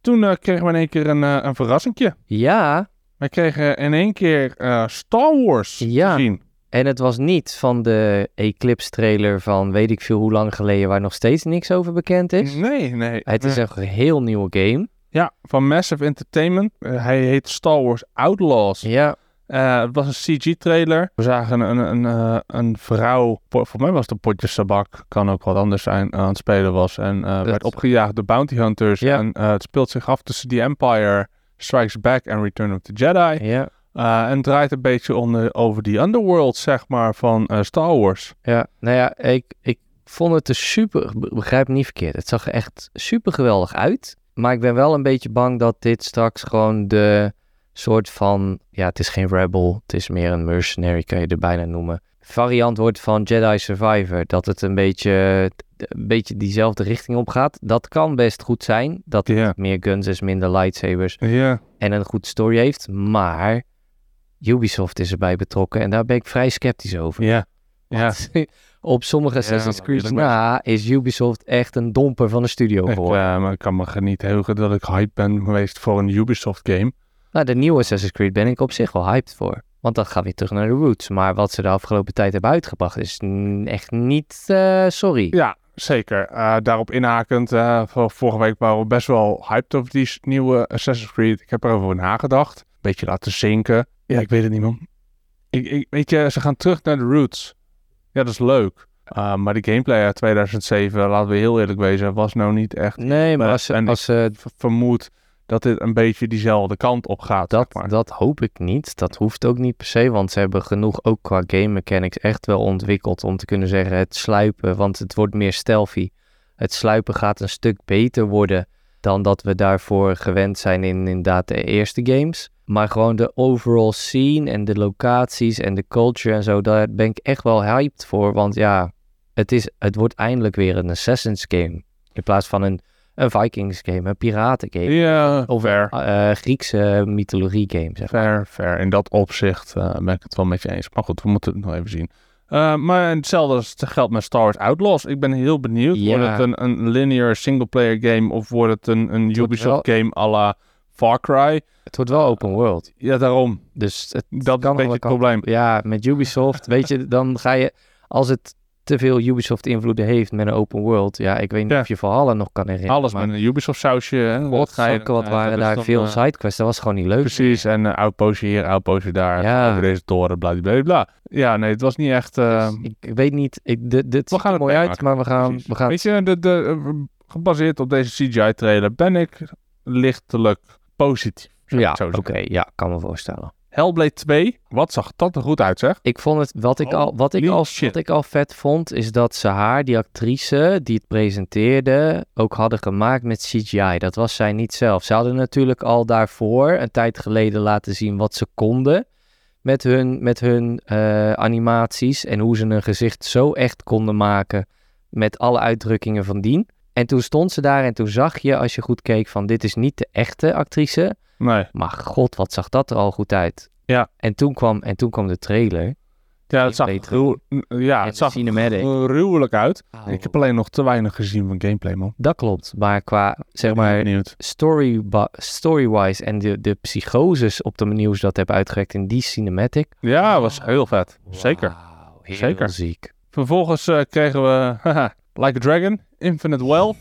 B: Toen eh, kregen we in één keer een, eh, een verrassingje.
A: Ja,
B: We kregen in één keer eh, Star Wars
A: Ja.
B: te zien.
A: En het was niet van de Eclipse trailer van weet ik veel hoe lang geleden waar nog steeds niks over bekend is.
B: Nee, nee.
A: Het is
B: Nee.
A: een geheel nieuwe game.
B: Ja, van Massive Entertainment. Eh, hij heet Star Wars Outlaws.
A: Ja.
B: Eh, het was een CG-trailer. We zagen een, een, een, eh, een vrouw, voor voor mij was het een potje sabak, kan ook wat anders zijn, aan het spelen was. En eh, werd opgejaagd door bounty hunters.
A: Ja.
B: En eh, het speelt zich af tussen The Empire, Strikes Back en Return of the Jedi.
A: ja.
B: Eh, en draait een beetje onder, over die underworld, zeg maar, van eh, Star Wars.
A: ja. Nou ja, ik, ik vond het er super, be- begrijp me niet verkeerd. Het zag er echt super geweldig uit. Maar ik ben wel een beetje bang dat dit straks gewoon de, soort van, ja, het is geen rebel, het is meer een mercenary, kan je er bijna noemen. Variant wordt van Jedi Survivor, dat het een beetje, een beetje diezelfde richting op gaat. Dat kan best goed zijn, dat het
B: Ja.
A: meer guns is, minder lightsabers
B: Ja.
A: en een goede story heeft. Maar Ubisoft is erbij betrokken en daar ben ik vrij sceptisch over.
B: Ja. Ja.
A: Want (laughs) op sommige Assassin's
B: maar
A: Creed
B: eerlijk
A: na is Ubisoft echt een domper van een studio
B: Ik,
A: geworden.
B: eh, maar ik kan me niet heugen dat ik hype ben geweest voor een Ubisoft game.
A: Nou, de nieuwe Assassin's Creed ben ik op zich wel hyped voor. Want dat gaat weer terug naar de roots. Maar wat ze de afgelopen tijd hebben uitgebracht is n- echt niet eh, sorry.
B: Ja, zeker. Eh, daarop inhakend, eh, vor- vorige week waren we best wel hyped over die s- nieuwe Assassin's Creed. Ik heb erover nagedacht. Beetje laten zinken. Ja, ik weet het niet, man. Ik, ik, weet je, ze gaan terug naar de roots. Ja, dat is leuk. Eh, maar die gameplay uit 2007, laten we heel eerlijk wezen, was nou niet echt
A: Nee, maar
B: Maar-
A: als, ze-
B: en ik-
A: als eh, ze-
B: v- vermoed dat dit een beetje diezelfde kant op gaat.
A: dat,
B: zeg maar.
A: dat hoop ik niet. Dat hoeft ook niet per se. Want ze hebben genoeg ook qua game mechanics echt wel ontwikkeld om te kunnen zeggen het sluipen. Want het wordt meer stealthy. Het sluipen gaat een stuk beter worden dan dat we daarvoor gewend zijn in inderdaad de eerste games. Maar gewoon de overall scene en de locaties en de culture en zo, daar ben ik echt wel hyped voor. Want ja, het, is, het wordt eindelijk weer een Assassin's game. In plaats van een, een Vikings game, een piraten game.
B: Ja,
A: Of-
B: fair.
A: eh, Griekse mythologie game, zeg maar.
B: Fair, fair. In dat opzicht eh, ben ik het wel met je eens. Maar goed, we moeten het nog even zien. Eh, maar hetzelfde als het geldt met Star Wars Outlaws. Ik ben heel benieuwd.
A: Ja.
B: Wordt het een, een linear singleplayer game of wordt het een, een
A: wordt
B: Ubisoft game à la Far Cry?
A: Het wordt wel open world.
B: Ja, daarom.
A: Dus het
B: Dat is
A: kan
B: een beetje
A: alle
B: het
A: kanten
B: probleem.
A: op. Ja, met Ubisoft, weet je, dan ga je... Als het te veel Ubisoft-invloeden heeft met een open world... Ja, ik weet niet
B: Ja.
A: of je Valhalla nog kan herinneren.
B: Alles
A: maar
B: met een Ubisoft sausje. hè.
A: wat,
B: ga je-
A: wat waren
B: eh, dat is
A: daar
B: dan,
A: veel
B: eh,
A: sidequests. Dat was gewoon niet leuk.
B: Precies, en eh outpostje hier, outpostje daar.
A: Ja.
B: Over deze toren, bla bla bla. Ja, nee, het was niet echt... eh,
A: Dus ik, ik weet niet, ik, dit, dit
B: We
A: ziet er
B: gaan het
A: mooi uit,
B: meemaken,
A: maar we gaan...
B: Precies.
A: Ehm, We gaan
B: Weet je, de, de, eh, gebaseerd op deze CGI-trailer ben ik lichtelijk positief. zou ik
A: ja,
B: zo
A: oké,
B: zeggen.
A: ja, kan me voorstellen.
B: Hellblade 2, wat zag dat er goed uit, zeg?
A: Ik vond het, wat ik, al, wat, ik
B: Holy
A: al,
B: Oh, shit.
A: wat ik al vet vond, is dat ze haar, die actrice die het presenteerde, ook hadden gemaakt met CGI. Dat was zij niet zelf. Ze hadden natuurlijk al daarvoor, een tijd geleden, laten zien wat ze konden met hun, met hun eh, animaties. En hoe ze een gezicht zo echt konden maken met alle uitdrukkingen van dien. En toen stond ze daar en toen zag je, als je goed keek, van dit is niet de echte actrice.
B: Nee.
A: Maar god, wat zag dat er al goed uit.
B: Ja.
A: En toen kwam, en toen kwam de trailer.
B: Ja,
A: Ik
B: het zag,
A: weet het.
B: gruw- ja,
A: En
B: Ah, het
A: de
B: zag
A: cinematic.
B: gruwelijk uit.
A: Oh.
B: Ik heb alleen nog te weinig gezien van gameplay, man.
A: Dat klopt, maar qua zeg
B: Ik ben
A: maar
B: benieuwd.
A: story story-wise en de, de psychoses op de manier hoe ze dat hebben uitgewerkt in die cinematic.
B: Ja, was heel vet. Zeker.
A: Oh. Wauw, heel
B: Zeker.
A: ziek.
B: Vervolgens eh, kregen we haha, Like a Dragon, Infinite
A: (laughs)
B: Well.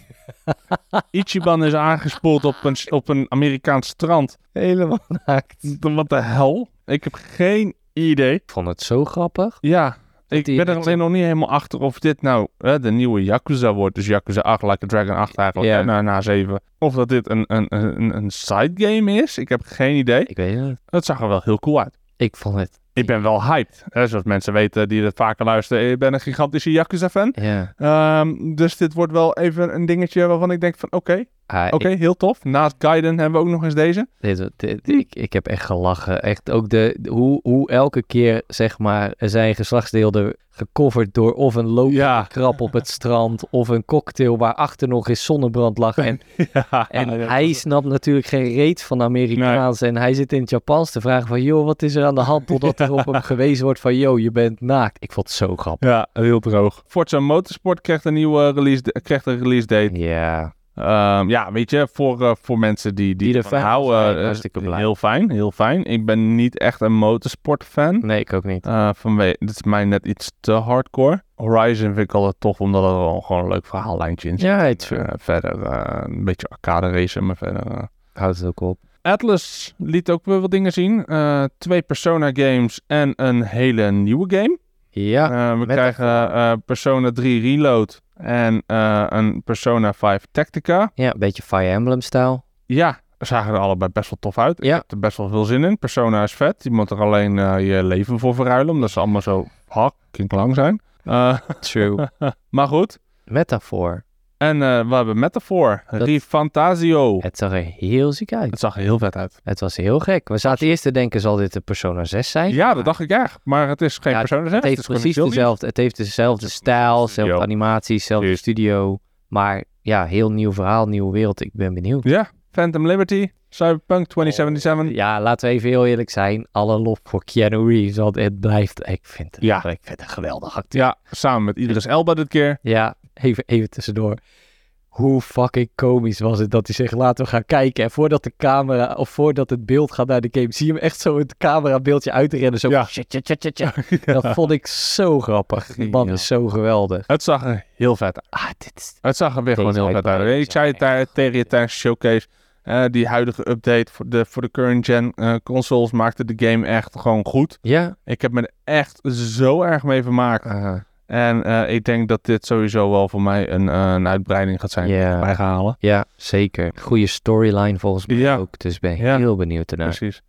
B: Ichiban is aangespoeld op een, op een Amerikaans strand.
A: Helemaal (laughs) naakt.
B: Wat de hel? Ik heb geen idee.
A: Ik vond het zo grappig.
B: Ja, ik
A: die-
B: ben er
A: dat-
B: alleen nog niet helemaal achter of dit nou hè, de nieuwe Yakuza wordt. Dus Yakuza 8, Like a Dragon 8 eigenlijk,
A: Ja.
B: en na, na 7. Of dat dit een, een, een, een side game is, ik heb geen idee.
A: Ik weet het.
B: Het zag er wel heel cool uit.
A: Ik vond het.
B: Ik ben wel hyped. Hè, zoals mensen weten die dat vaker luisteren, ik ben een gigantische Yakuza-fan.
A: Ja.
B: Ehm, dus dit wordt wel even een dingetje waarvan ik denk van oké,
A: Ah,
B: oké, heel tof. Naast Gaiden hebben we ook nog eens deze.
A: ik, dit- dit- ik, ik heb echt gelachen. Echt ook de, de- hoe, hoe elke keer zeg maar zijn geslachtsdeel er gecoverd door of een loop.
B: Ja.
A: Krap op het strand of een cocktail waarachter nog eens zonnebrand lag. (laughs) En
B: (laughs) ja.
A: En hij snapt natuurlijk geen reet van Amerikaans. En hij zit in het Japans te vragen van... joh, wat is er aan de (laughs) hand? Totdat er op hem gewezen wordt van... joh, je bent naakt. Ik vond het zo grappig.
B: Ja, heel droog. Forza Motorsport krijgt een nieuwe release, krijgt een release date.
A: Ja,
B: Ehm, ja, weet je, voor, eh, voor mensen die, die,
A: Die er fan
B: ervan
A: van zijn,
B: houden, eh,
A: hartstikke blij.
B: heel fijn, heel fijn. Ik ben niet echt een motorsportfan.
A: nee, ik ook niet.
B: Eh, vanwege, dit is mij net iets te hardcore. Horizon vind ik altijd tof, omdat het wel gewoon een leuk verhaallijntje in zit.
A: Ja, het ver-
B: Eh, verder eh, een beetje arcade racen, maar verder... eh.
A: houdt het ook op.
B: Atlas liet ook weer wat dingen zien. Eh, twee Persona games en een hele nieuwe game.
A: Ja,
B: Eh, we
A: met
B: krijgen eh, Persona 3 Reload en eh, een Persona 5 Tactica.
A: ja een beetje Fire Emblem-stijl.
B: Ja, zagen er allebei best wel tof uit.
A: Ja.
B: Ik heb er best wel veel zin in. Persona is vet. Je moet er alleen eh, je leven voor verruilen, omdat ze allemaal zo fucking lang zijn. Eh, (laughs)
A: True.
B: maar goed,
A: (laughs) Metafoor.
B: En eh, we hebben Metaphor,
A: Dat-
B: Rifantasio.
A: Het zag er heel ziek uit.
B: Het zag er heel vet uit.
A: Het was heel gek. We zaten eerst te denken, zal dit de Persona 6 zijn?
B: Ja, dat dacht ik echt. Maar het is geen
A: Ja,
B: persoon.
A: Het heeft precies dezelfde, het heeft dezelfde stijl, dezelfde
B: studio.
A: animaties, dezelfde
B: Precies.
A: studio. Maar ja, heel nieuw verhaal, nieuwe wereld. Ik ben benieuwd.
B: Ja, Phantom Liberty,
A: Oh,
B: Cyberpunk 2077.
A: Ja, laten we even heel eerlijk zijn. Alle lof voor Keanu Reeves, want het blijft... Ik vind het,
B: Ja.
A: ik vind het een geweldig acteur.
B: Ja, samen met Idris Elba dit keer.
A: Ja, even, even tussendoor. Hoe fucking komisch was het dat hij zegt, laten we gaan kijken. En voordat de camera, of voordat het beeld gaat naar de game, zie je hem echt zo het camerabeeldje uitrennen. Zo, (laughs)
B: Ja.
A: shit, shit, shit, shit, shit. Dat vond ik zo grappig. Die man
B: Geniaal.
A: is zo geweldig.
B: Het zag er heel vet uit.
A: Ah, dit is...
B: Het zag er weer gewoon
A: Deze
B: heel vet
A: uitbreiding
B: uit. Ik
A: is
B: zei het
A: echt
B: daar tegen je tijdens de showcase. eh, die huidige update voor de, voor de current gen eh, consoles maakte de game echt gewoon goed.
A: Ja,
B: Ik heb me er echt zo erg mee vermaakt. En eh, ik denk dat dit sowieso wel voor mij een, eh, een uitbreiding gaat zijn.
A: Ja.
B: Wij gaan halen.
A: ja, zeker. Goede storyline volgens mij
B: Ja.
A: ook. Dus ben ik
B: Ja.
A: heel benieuwd ernaar.
B: Precies.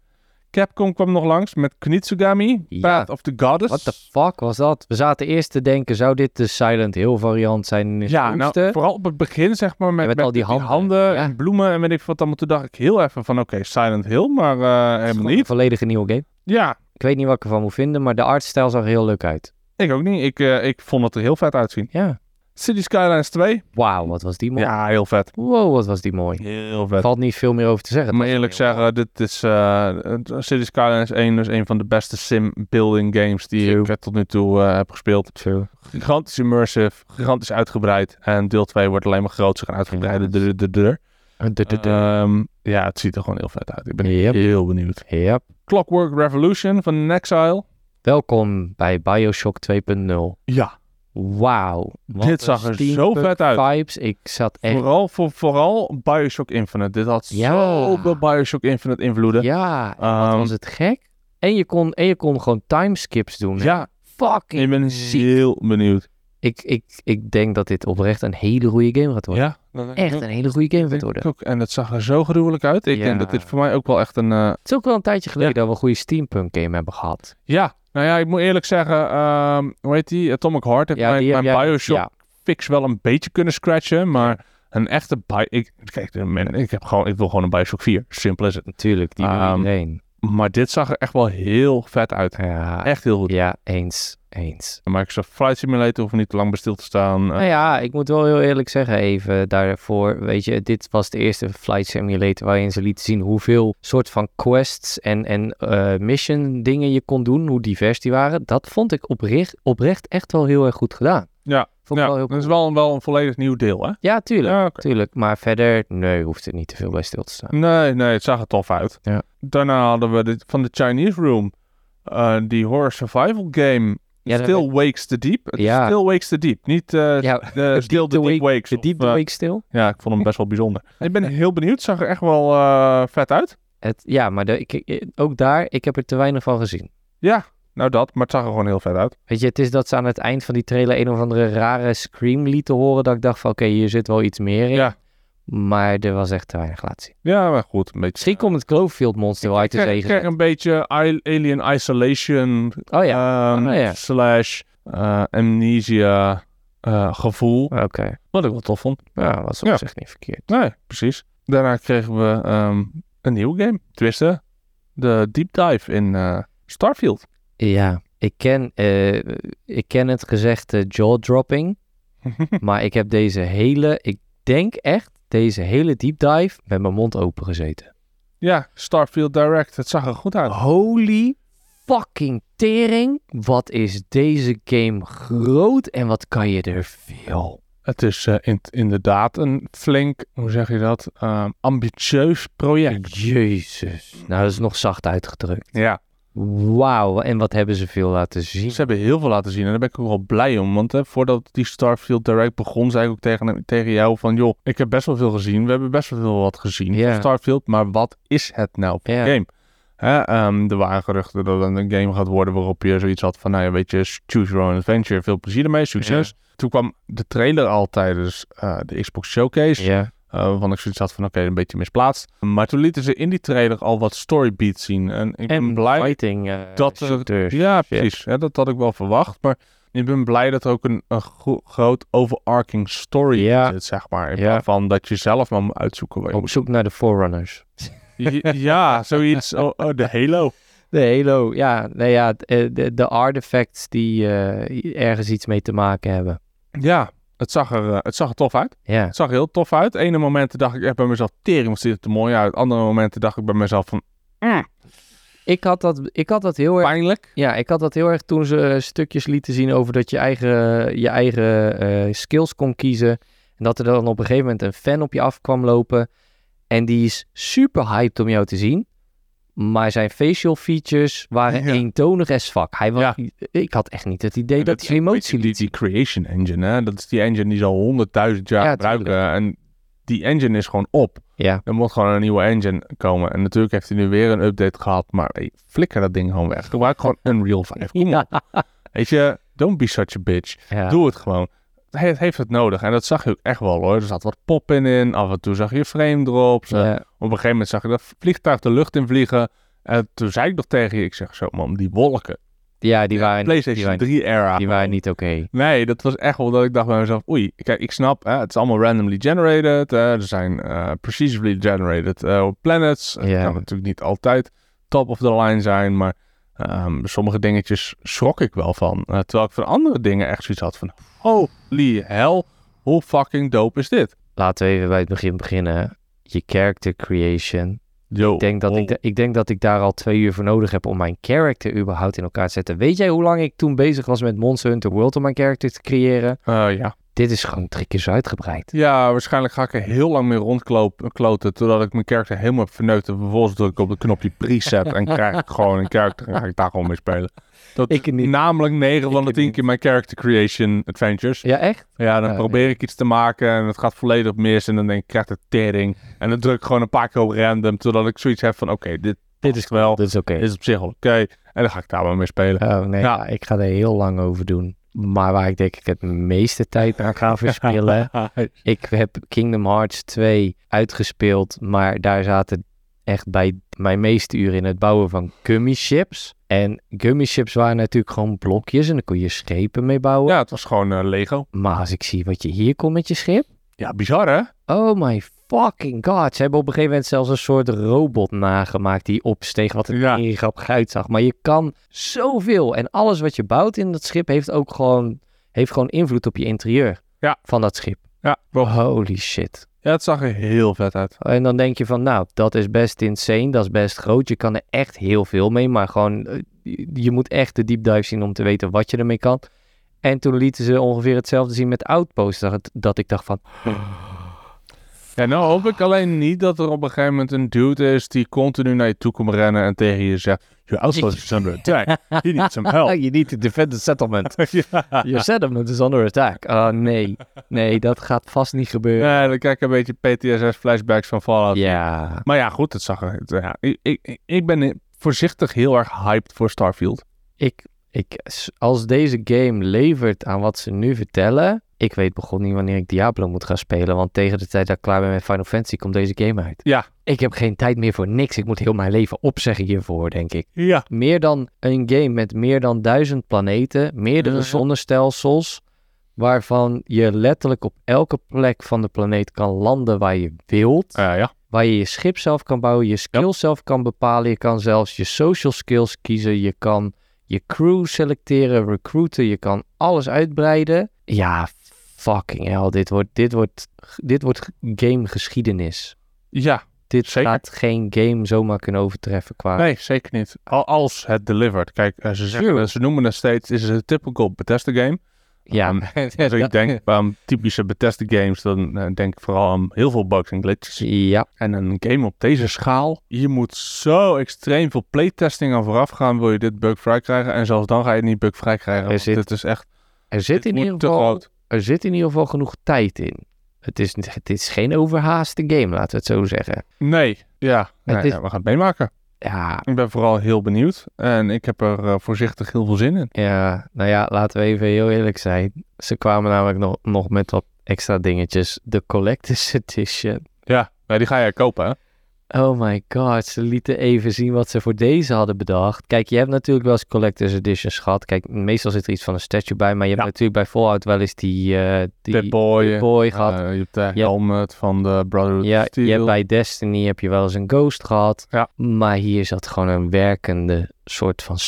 B: Capcom kwam nog langs met Knitsugami,
A: Ja.
B: Path of the Goddess.
A: What the fuck was dat? We zaten eerst te denken, zou dit de Silent Hill variant zijn in de
B: ja, nou,
A: vroegste?
B: vooral op het begin zeg maar met,
A: met al die handen. Ja.
B: en bloemen en weet ik wat allemaal. Toen dacht ik heel even van oké, Silent Hill, maar eh,
A: Het is
B: helemaal
A: gewoon een
B: niet.
A: volledige nieuwe game.
B: Ja,
A: Ik weet niet wat ik ervan moet vinden, maar de artstijl zag er heel leuk uit.
B: ik ook niet. Ik, eh, ik vond het er heel vet uitzien.
A: Ja.
B: City Skylines 2.
A: Wauw, wat was die mooi.
B: Ja, heel vet.
A: Wow, wat was die mooi.
B: Heel
A: Er
B: vet.
A: valt niet veel meer over te zeggen.
B: Ik moet eerlijk
A: Het was heel
B: zeggen, dit is eh, City Skylines 1 is een van de beste sim-building games die
A: True.
B: ik eh, tot nu toe eh, heb gespeeld.
A: True.
B: Gigantisch immersive, gigantisch uitgebreid. En deel 2 wordt alleen maar groter en uitgebreider. Dur, dur, dur. Ehm, ja, het ziet er gewoon heel vet uit. Ik ben
A: Yep.
B: heel benieuwd.
A: Ja.
B: Clockwork Revolution van Nexile.
A: Welkom bij Bioshock 2.0.
B: Ja.
A: Wauw. wat
B: Dit
A: een
B: zag er zo
A: steampunk
B: vet uit.
A: Vibes. Ik zat echt...
B: Vooral, voor, vooral Bioshock Infinite. Dit had
A: Ja.
B: zoveel Bioshock Infinite invloeden.
A: Ja,
B: Ehm,
A: was het gek? En je kon, en je kon gewoon timeskips doen. hè?
B: ja,
A: Fucking
B: ik ben
A: ziek.
B: heel benieuwd.
A: Ik, ik, ik denk dat dit oprecht een hele goede game gaat worden.
B: Ja, dat-
A: Echt een hele goede game gaat worden.
B: Ik ook. En het zag er zo gruwelijk uit. Ik
A: Ja.
B: denk dat dit voor mij ook wel echt een... eh,
A: Het is ook wel een tijdje geleden dat we een goede steampunk game hebben gehad.
B: ja, nou ja, ik moet eerlijk zeggen... ehm, hoe heet die? Atomic Heart heeft
A: Ja,
B: mijn,
A: die heb
B: mijn
A: jij-
B: Bioshock
A: ja.
B: fix wel een beetje kunnen scratchen. Maar een echte... Bi ik, kijk, man, ik, heb gewoon, ik wil gewoon een Bioshock 4. Simpel is het.
A: Natuurlijk, die wil
B: Ehm,
A: iedereen.
B: Maar dit zag er echt wel heel vet uit.
A: Ja,
B: Echt heel goed.
A: ja, eens, eens.
B: Microsoft Flight Simulator hoeft niet te lang bij stil te staan. Eh,
A: Nou ja, ik moet wel heel eerlijk zeggen even daarvoor. Weet je, dit was de eerste Flight Simulator waarin ze lieten zien hoeveel soort van quests en, en eh, mission dingen je kon doen. Hoe divers die waren. Dat vond ik oprecht, oprecht echt wel heel erg goed gedaan.
B: ja,
A: Vond ik
B: ja
A: wel heel
B: dat is
A: cool.
B: wel, wel een volledig nieuw deel, hè?
A: Ja, tuurlijk.
B: Ja, oké.
A: Tuurlijk, maar verder, nee, hoeft er niet te veel bij stil te staan.
B: Nee, nee, het zag er tof uit.
A: Ja.
B: Daarna hadden we de, van de Chinese Room eh, die horror survival game
A: Ja, dat-
B: Still Wakes the Deep. Het is
A: Ja,
B: Still Wakes the Deep, niet eh,
A: Ja, (laughs)
B: s- de Still the
A: the
B: Deep
A: wake-
B: Wakes.
A: de
B: of,
A: Deep the
B: eh,
A: Wake stil.
B: Ja, ik vond hem best wel
A: (laughs)
B: bijzonder. ik ben heel benieuwd, het zag er echt wel eh, vet uit.
A: Het, ja, maar de, ik- ik, ook daar, ik heb er te weinig van gezien.
B: Ja, nou dat, maar het zag er gewoon heel vet uit.
A: Weet je, het is dat ze aan het eind van die trailer een of andere rare scream lieten horen. Dat ik dacht van, oké, hier zit wel iets meer in.
B: Ja.
A: Maar er was echt te weinig laat zien.
B: Ja, maar goed, een beetje...
A: Misschien komt het Cloverfield monster wel uit de
B: Ik
A: zee
B: kreeg, kreeg
A: gezet.
B: een beetje I- Alien Isolation
A: Oh ja,
B: ehm,
A: Ah, ja.
B: slash eh, amnesia eh, gevoel.
A: oké.
B: Wat ik wel tof vond.
A: Nou, dat was op
B: Ja.
A: zich niet verkeerd.
B: Nee, precies. Daarna kregen we ehm, een nieuwe game. Twisten. De deep dive in eh, Starfield.
A: Ja, ik ken, eh, ik ken het gezegde
B: (laughs)
A: jaw-dropping. maar ik heb deze hele, ik denk echt, deze hele deep dive met mijn mond open gezeten.
B: ja, Starfield Direct. Het zag er goed uit.
A: Holy fucking tering. Wat is deze game groot en wat kan je er veel
B: Het is eh, in- inderdaad een flink, hoe zeg je dat, ehm, ambitieus project.
A: Jezus. Nou, dat is nog zacht uitgedrukt.
B: Ja,
A: Wauw, en wat hebben ze veel laten zien.
B: Dus ze hebben heel veel laten zien en daar ben ik ook wel blij om. Want hè, voordat die Starfield Direct begon, zei ik ook tegen, tegen jou van... joh, ik heb best wel veel gezien, we hebben best wel veel wat gezien
A: Ja.
B: van Starfield... maar wat is het nou voor
A: Ja.
B: game? Hè, ehm, er waren geruchten dat het een game gaat worden waarop je zoiets had van... nou ja, weet je, choose your own adventure, veel plezier ermee, succes. Toen kwam de trailer al tijdens eh, de Xbox Showcase...
A: Ja,
B: eh, waarvan ik zoiets had van, oké, een beetje misplaatst. Maar toen lieten ze in die trailer al wat storybeats zien. En ik ben
A: en
B: blij
A: fighting. eh,
B: dat er-
A: shooters.
B: ja,
A: shit.
B: precies. Ja, dat had ik wel verwacht. Maar Ik ben blij dat er ook een, een gro- groot overarching story
A: Ja.
B: in zit, zeg maar. In
A: Ja.
B: plaats van dat je zelf maar moet uitzoeken waar
A: (laughs)
B: je
A: Op zoek naar de Forerunners.
B: moet... Ja, zoiets. Oh, oh, de Halo.
A: De Halo, ja. Nee, ja de, de, de artifacts die eh, ergens iets mee te maken hebben.
B: Ja, het zag, er, eh, het zag er tof uit.
A: Ja,
B: Het zag er heel tof uit. Ene momenten dacht ik echt bij mezelf, tering, wat ziet het er mooi uit. Andere momenten dacht ik bij mezelf van,
A: ik had dat, ik had dat heel erg...
B: pijnlijk.
A: Ja, ik had dat heel erg toen ze eh, stukjes lieten zien over dat je eigen, je eigen eh, skills kon kiezen. En dat er dan op een gegeven moment een fan op je af kwam lopen. En die is super hyped om jou te zien. Maar zijn facial features waren
B: Ja.
A: eentonig as fuck. Hij was,
B: Ja.
A: Ik had echt niet het idee dat,
B: is
A: hij
B: een
A: emotie
B: beetje
A: liet
B: die, die creation engine, hè. Dat is die engine die ze al honderdduizend jaar
A: Ja,
B: gebruiken. En die engine is gewoon op.
A: Ja.
B: Er moet gewoon een nieuwe engine komen. En natuurlijk heeft hij nu weer een update gehad. Maar hey, flikker dat ding gewoon weg. Gebruik gewoon Unreal 5. Kom op.
A: Ja.
B: Weet je, don't be such a bitch.
A: Ja.
B: Doe het gewoon. Het heeft het nodig. En dat zag je ook echt wel hoor. Er zat wat pop-in in. Af en toe zag je frame drops. Eh,
A: Ja.
B: Op een gegeven moment zag je dat vliegtuig de lucht in vliegen. En toen zei ik nog tegen je, ik zeg zo man, die wolken.
A: Ja, die waren, die
B: PlayStation
A: waren,
B: 3 era.
A: Ah, die waren niet oké.
B: Nee, dat was echt wel dat ik dacht bij mezelf, oei, kijk, ik snap, hè, het is allemaal randomly generated. hè, er zijn eh precisely generated eh, planets. Het
A: Ja.
B: kan natuurlijk niet altijd top of the line zijn, maar ehm, sommige dingetjes schrok ik wel van. Eh, terwijl ik van andere dingen echt zoiets had van, holy hell, hoe fucking dope is dit?
A: Laten we even bij het begin beginnen. Je character creation.
B: Yo, oh,
A: Ik denk, dat ik, da- ik denk dat ik daar al twee uur voor nodig heb om mijn character überhaupt in elkaar te zetten. Weet jij hoe lang ik toen bezig was met Monster Hunter World om mijn character te creëren?
B: Eh, ja.
A: Dit is gewoon drie keer zo uitgebreid.
B: ja, waarschijnlijk ga ik er heel lang mee rondkloten, totdat ik mijn karakter helemaal heb verneukt. En vervolgens druk ik op het knopje preset en krijg ik gewoon een karakter en ga ik daar gewoon mee spelen. Dat
A: Ik niet.
B: Namelijk 9 van
A: Ik
B: de 10
A: niet.
B: keer mijn character creation adventures.
A: Ja, echt?
B: Ja, dan
A: Ja,
B: probeer ik iets te maken en het gaat volledig mis. En dan denk ik, ik krijg de tering. En dan druk ik gewoon een paar keer op random. Totdat ik zoiets heb van, oké, dit, dit is wel,
A: Dat is oké.
B: dit is op zich wel oké. En dan ga ik daar maar mee spelen.
A: Oh nee,
B: Ja.
A: Dus- ja, ik ga er heel lang over doen. Maar waar ik denk ik het meeste tijd aan (laughs) ga verspillen. Ik heb Kingdom Hearts 2 uitgespeeld, maar daar zaten echt bij mijn meeste uren in het bouwen van gummy ships. En gummy ships waren natuurlijk gewoon blokjes en daar kon je schepen mee bouwen.
B: Ja, het was gewoon eh, Lego.
A: Maar als ik zie wat je hier kon met je schip.
B: Ja, bizar hè?
A: Oh my fucking god. Ze hebben op een gegeven moment zelfs een soort robot nagemaakt die opsteeg. Wat een
B: Ja.
A: ja. grappig uitzag. Maar je kan zoveel. En alles wat je bouwt in dat schip heeft ook gewoon, heeft gewoon invloed op je interieur
B: Ja.
A: van dat schip.
B: Ja, klopt.
A: Holy shit.
B: ja, het zag er heel vet uit.
A: En dan denk je van, nou, dat is best insane, dat is best groot. Je kan er echt heel veel mee, maar gewoon, eh, je- je moet echt de deep dive zien om te weten wat je ermee kan. En toen lieten ze ongeveer hetzelfde zien met Outpost, dat, het- dat ik dacht van,
B: Ja, nou hoop ik alleen niet dat er op een gegeven moment een dude is die continu naar je toe komt rennen en tegen je zegt, your outpost is under (laughs) attack. You need some (laughs) help.
A: je niet oh, to defend the
B: (laughs)
A: settlement. Your settlement is under attack. Oh nee, nee, dat gaat vast niet gebeuren.
B: Ja, dan krijg ik een beetje PTSS-flashbacks van Fallout.
A: Ja,
B: Maar ja, goed, het zag er... het- Ja, ik, ik, ik ben voorzichtig heel erg hyped voor Starfield.
A: ik, ik, als deze game levert aan wat ze nu vertellen, ik weet begon niet wanneer ik Diablo moet gaan spelen, want tegen de tijd dat ik klaar ben met Final Fantasy komt deze game uit.
B: Ja.
A: Ik heb geen tijd meer voor niks. Ik moet heel mijn leven opzeggen hiervoor, denk ik.
B: Ja.
A: Meer dan een game met meer dan duizend planeten, meerdere
B: Ja.
A: zonnestelsels, waarvan je letterlijk op elke plek van de planeet kan landen waar je wilt.
B: Eh, ja.
A: Waar je je schip zelf kan bouwen, je skills zelf kan bepalen. Je kan zelfs je social skills kiezen. Je kan je crew selecteren, recruiten. Je kan alles uitbreiden. Ja, fucking hell. Dit wordt, dit wordt, dit wordt gamegeschiedenis.
B: Ja,
A: Dit
B: Zeker.
A: gaat geen game zomaar kunnen overtreffen qua...
B: nee, zeker niet. Al, als het delivered. Kijk, eh, ze, zeggen,
A: Tuurlijk.
B: ze noemen het steeds, is het een typical Bethesda-game.
A: Ja,
B: Ehm,
A: (laughs)
B: dus ik denk aan typische Bethesda-games, dan eh, denk ik vooral aan heel veel bugs en glitches.
A: ja,
B: En een game op deze schaal, je moet zo extreem veel playtesting aan vooraf gaan, wil je dit bugvrij krijgen. En zelfs dan ga je het niet bugvrij krijgen,
A: Er
B: want
A: zit-
B: dit is echt...
A: er zit,
B: dit
A: in
B: moet
A: ieder
B: te
A: geval,
B: groot.
A: er zit in ieder geval genoeg tijd in. Het is, het is geen overhaaste game, laten we het zo zeggen.
B: Nee, ja. Nee,
A: is-
B: ja, we gaan het meemaken.
A: Ja,
B: Ik ben vooral heel benieuwd en ik heb er eh, voorzichtig heel veel zin in.
A: Ja, nou ja, laten we even heel eerlijk zijn. Ze kwamen namelijk nog, nog met wat extra dingetjes. De Collector's (laughs) Edition.
B: Ja, die ga jij kopen hè?
A: Oh my god, ze lieten even zien wat ze voor deze hadden bedacht. Kijk, je hebt natuurlijk wel eens collector's editions gehad. Kijk, meestal zit er iets van een statue bij, maar je hebt
B: Ja.
A: natuurlijk bij Fallout wel eens die, eh die
B: Pip Boy.
A: Pip Boy
B: eh,
A: gehad.
B: je hebt de
A: Ja.
B: helmet van de Brotherhood
A: ja,
B: of Steel.
A: je hebt bij Destiny heb je wel eens een ghost gehad.
B: Ja.
A: Maar hier zat gewoon een werkende soort van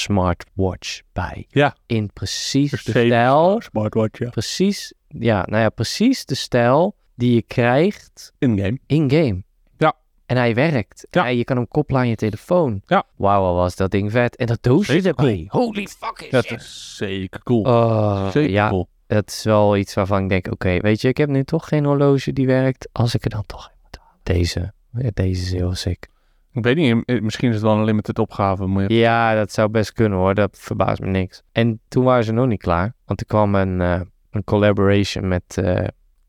A: smartwatch bij.
B: Ja.
A: In precies de
B: Mercedes.
A: stijl.
B: Smartwatch, ja.
A: Precies, ja, nou ja, precies de stijl die je krijgt
B: In-game.
A: in-game.
B: Ja.
A: En hij werkt.
B: Ja.
A: En je kan hem koppelen aan je telefoon.
B: Ja.
A: Wauw, wat was dat ding vet. En dat doosje
B: Zeker
A: erbij. Holy fucking
B: Dat
A: shit.
B: is zeker cool.
A: Oh,
B: zeker
A: ja,
B: cool.
A: dat is wel iets waarvan ik denk, oké, weet je, ik heb nu toch geen horloge die werkt. Als ik er dan toch een moet halen. Deze, Ja, deze is heel sick.
B: Ik weet niet, eh, misschien is het wel een limited opgave. Moet je...
A: Ja, dat zou best kunnen hoor, dat verbaast me niks. En toen waren ze nog niet klaar, want er kwam een, eh, een collaboration met eh,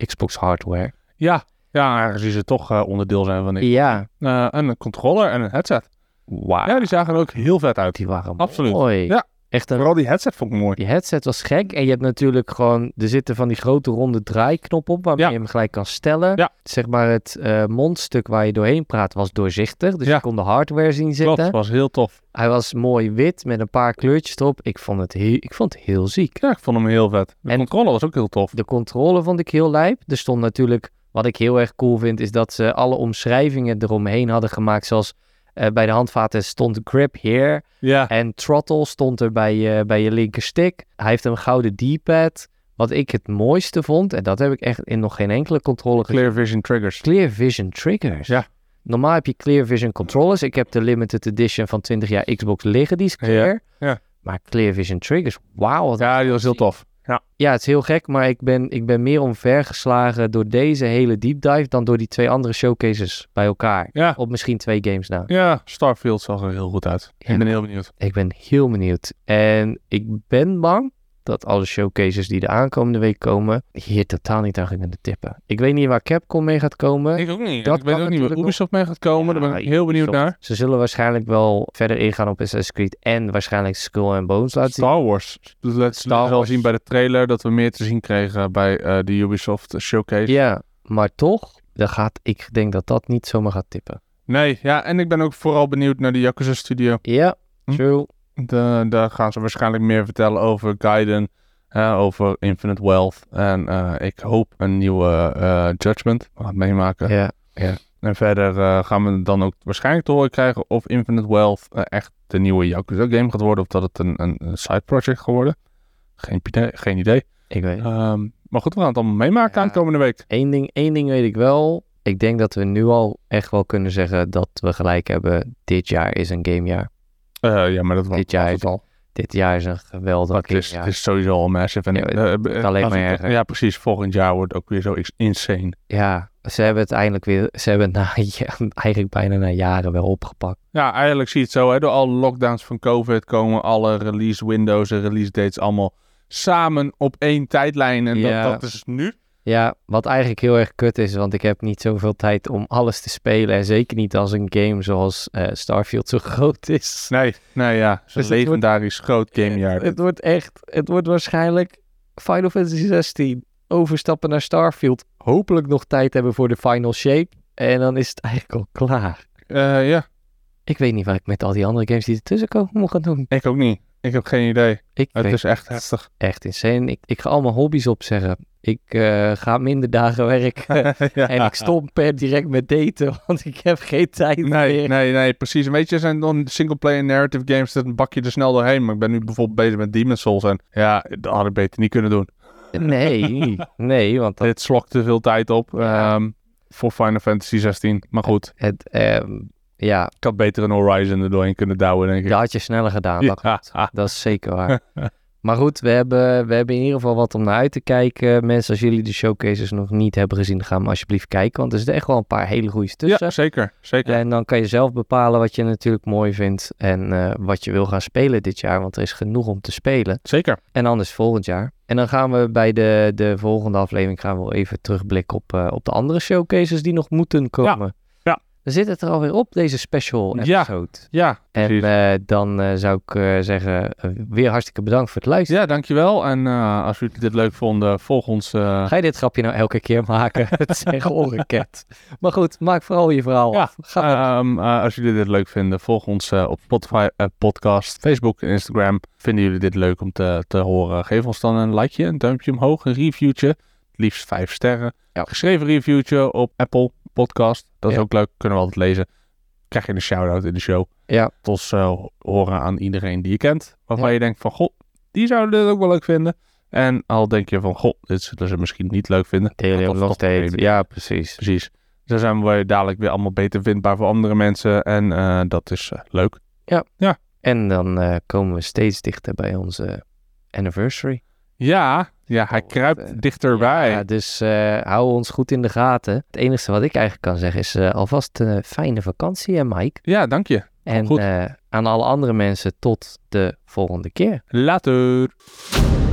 A: Xbox Hardware.
B: Ja, ja, aangezien ze toch eh, onderdeel zijn van ik. Eh,
A: Ja,
B: en een controller en een headset.
A: wauw.
B: Ja, die zagen er ook heel vet uit.
A: Die waren
B: Absoluut.
A: mooi.
B: Ja.
A: Echt een
B: Vooral die headset vond ik mooi.
A: Die headset was gek. En je hebt natuurlijk gewoon... Er zitten van die grote ronde draaiknop op... waarmee
B: Ja.
A: je hem gelijk kan stellen.
B: Ja.
A: Zeg maar het eh, mondstuk waar je doorheen praat was doorzichtig. Dus
B: Ja.
A: je kon de hardware zien zitten.
B: Klopt, was heel tof.
A: Hij was mooi wit met een paar kleurtjes erop. Ik vond het, heel, ik vond het heel ziek.
B: Ja, ik vond hem heel vet. De
A: En-
B: controller was ook heel tof.
A: De controle vond ik heel lijp. Er stond natuurlijk... Wat ik heel erg cool vind... is dat ze alle omschrijvingen eromheen hadden gemaakt. Zoals eh, bij de handvaten stond grip here...
B: Ja,
A: En Throttle stond er bij je, bij je linkerstick. Hij heeft een gouden D-pad. Wat ik het mooiste vond, en dat heb ik echt in nog geen enkele controle gezien.
B: Clear Vision Triggers.
A: Clear Vision Triggers.
B: Ja.
A: Normaal heb je Clear Vision Controllers. Ik heb de Limited Edition van 20 jaar Xbox liggen, die is clear.
B: ja.
A: Maar Clear Vision Triggers, wauw. wat-
B: Ja, die was heel tof.
A: Ja, het is heel gek, maar ik ben, ik ben meer omvergeslagen door deze hele deep dive dan door die twee andere showcases bij elkaar.
B: Ja,
A: Op misschien twee games na.
B: ja Starfield zag er heel goed uit.
A: Ja.
B: Ik ben heel benieuwd.
A: Ik ben heel benieuwd. En ik ben bang dat alle showcases die de aankomende week komen, hier totaal niet aan kunnen tippen. Ik weet niet waar Capcom mee gaat komen.
B: Ik ook niet.
A: Dat
B: ik weet
A: kan
B: ook niet waar
A: natuurlijk
B: Ubisoft mee gaat komen. Daar ben ik
A: Ja,
B: heel benieuwd
A: Ubisoft.
B: naar.
A: Ze zullen waarschijnlijk wel verder ingaan op Assassin's Creed en waarschijnlijk Skull and Bones laten zien.
B: Star Wars. Dus Dat
A: Star
B: Star al
A: Wars.
B: zien bij de trailer dat we meer te zien kregen bij eh, de Ubisoft Showcase.
A: Ja, maar toch, dan gaat, ik denk dat dat niet zomaar gaat tippen.
B: Nee, ja, en ik ben ook vooral benieuwd naar de Yakuza Studio.
A: Ja,
B: Hm.
A: true.
B: De- daar gaan ze waarschijnlijk meer vertellen over Gaiden, hè, over Infinite Wealth. En eh, ik hoop een nieuwe eh, Judgment. We gaan het meemaken.
A: Ja.
B: En verder eh, gaan we dan ook waarschijnlijk te horen krijgen of Infinite Wealth eh, echt de nieuwe Yakuza game gaat worden. Of dat het een, een, een side project gaat worden. Geen, pide- geen idee.
A: ik weet het.
B: Ehm, maar goed, we gaan het allemaal meemaken
A: Ja.
B: aan de komende week.
A: Eén ding, één ding weet ik wel. Ik denk dat we nu al echt wel kunnen zeggen dat we gelijk hebben. Dit jaar is een gamejaar.
B: Eh, ja, maar dat was
A: Dit jaar
B: was het al.
A: Dit jaar is een geweldig
B: Het is,
A: gamejaar.
B: het is sowieso al massive. En,
A: Ja,
B: eh, eh,
A: wordt alleen
B: als
A: maar
B: het-
A: erger.
B: Ja, precies. Volgend jaar wordt ook weer zo insane.
A: Ja, ze hebben het eindelijk weer, ze hebben het na, (laughs) ja, eigenlijk bijna na jaren wel opgepakt.
B: Ja, eigenlijk zie je het zo. Hè? Door alle lockdowns van COVID komen alle release windows en release dates allemaal samen op één tijdlijn. En
A: Ja.
B: dat, dat is nu.
A: Ja, wat eigenlijk heel erg kut is, want ik heb niet zoveel tijd om alles te spelen. En zeker niet als een game zoals eh, Starfield zo (laughs) groot is.
B: Nee, nee ja. Het is
A: Dus
B: een
A: het wordt-
B: legendarisch groot gamejaar.
A: Het wordt echt, het wordt waarschijnlijk Final Fantasy 16. Overstappen naar Starfield. Hopelijk nog tijd hebben voor de final shape. En dan is het eigenlijk al klaar.
B: Eh, ja,
A: Ik weet niet wat ik met al die andere games die ertussen komen moet gaan doen.
B: ik ook niet. Ik heb geen idee.
A: Ik
B: Het
A: weet
B: is echt
A: (laughs)
B: heftig.
A: echt insane. Ik, ik ga al mijn hobby's opzeggen. Ik eh, ga minder dagen
B: (laughs)
A: werken.
B: Ja.
A: En ik stop per direct met daten, (laughs) want ik heb geen tijd
B: Nee,
A: meer.
B: nee, nee, precies. En weet je, er zijn dan single-player narrative games, dat bak je er snel doorheen. Maar ik ben nu bijvoorbeeld bezig met Demon's Souls en ja, dat had ik beter niet kunnen doen.
A: Nee, nee, want dat,
B: Dit slokt te veel tijd op
A: Ja.
B: ehm, voor Final Fantasy 16. Maar goed,
A: het, ehm, ja,
B: ik had beter een Horizon er doorheen kunnen douwen, denk ik.
A: dat had je sneller gedaan.
B: Ja.
A: Dat, klopt.
B: (laughs)
A: dat is zeker waar. Maar goed, we hebben, we hebben in ieder geval wat om naar uit te kijken. Mensen, als jullie de showcases nog niet hebben gezien, ga hem alsjeblieft kijken. Want er zitten echt wel een paar hele goede tussen.
B: Ja, zeker. zeker.
A: En dan kan je zelf bepalen wat je natuurlijk mooi vindt en eh, wat je wil gaan spelen dit jaar. Want er is genoeg om te spelen.
B: Zeker.
A: En anders volgend jaar. En dan gaan we bij de, de volgende aflevering gaan we wel even terugblikken op, eh, op de andere showcases die nog moeten komen.
B: ja.
A: dan zit het er alweer op, deze special
B: Ja,
A: episode.
B: Ja,
A: en
B: precies.
A: eh, dan eh, zou ik eh, zeggen, eh, weer hartstikke bedankt voor het luisteren.
B: ja, dankjewel. En eh, als jullie dit leuk vonden, volg ons. eh,
A: Ga je dit grapje nou elke keer (laughs) maken? het is echt ongekend. Maar goed, maak vooral je verhaal
B: Ja,
A: af. Ga
B: ehm, eh, als jullie dit leuk vinden, volg ons eh, op Spotify, eh, podcast, Facebook en Instagram. Vinden jullie dit leuk om te, te horen? Geef ons dan een likeje, een duimpje omhoog, een reviewtje. Het liefst vijf sterren.
A: Ja.
B: Geschreven reviewtje op Apple Podcast. Dat is
A: Ja.
B: ook leuk, kunnen we altijd lezen. Krijg je een shout-out in de show.
A: Ja.
B: Het ons eh, horen aan iedereen die je kent. Waarvan
A: Ja.
B: je denkt van, goh, die zouden dit ook wel leuk vinden. En al denk je van, goh, dit zullen ze misschien niet leuk vinden.
A: Deel je
B: Dat
A: hem
B: was
A: nog
B: toch
A: steeds.
B: een-
A: Ja, precies.
B: Precies. Zo zijn we dadelijk weer allemaal beter vindbaar voor andere mensen. En eh, dat is eh, leuk.
A: En dan eh, komen we steeds dichter bij onze anniversary.
B: Ja, ja hij
A: Oh,
B: kruipt
A: eh,
B: dichterbij.
A: Ja, dus eh, hou ons goed in de gaten. Het enige wat ik eigenlijk kan zeggen is eh, alvast een fijne vakantie, hè Mike.
B: ja, dank je.
A: En
B: goed.
A: eh, aan alle andere mensen tot de volgende keer.
B: Later.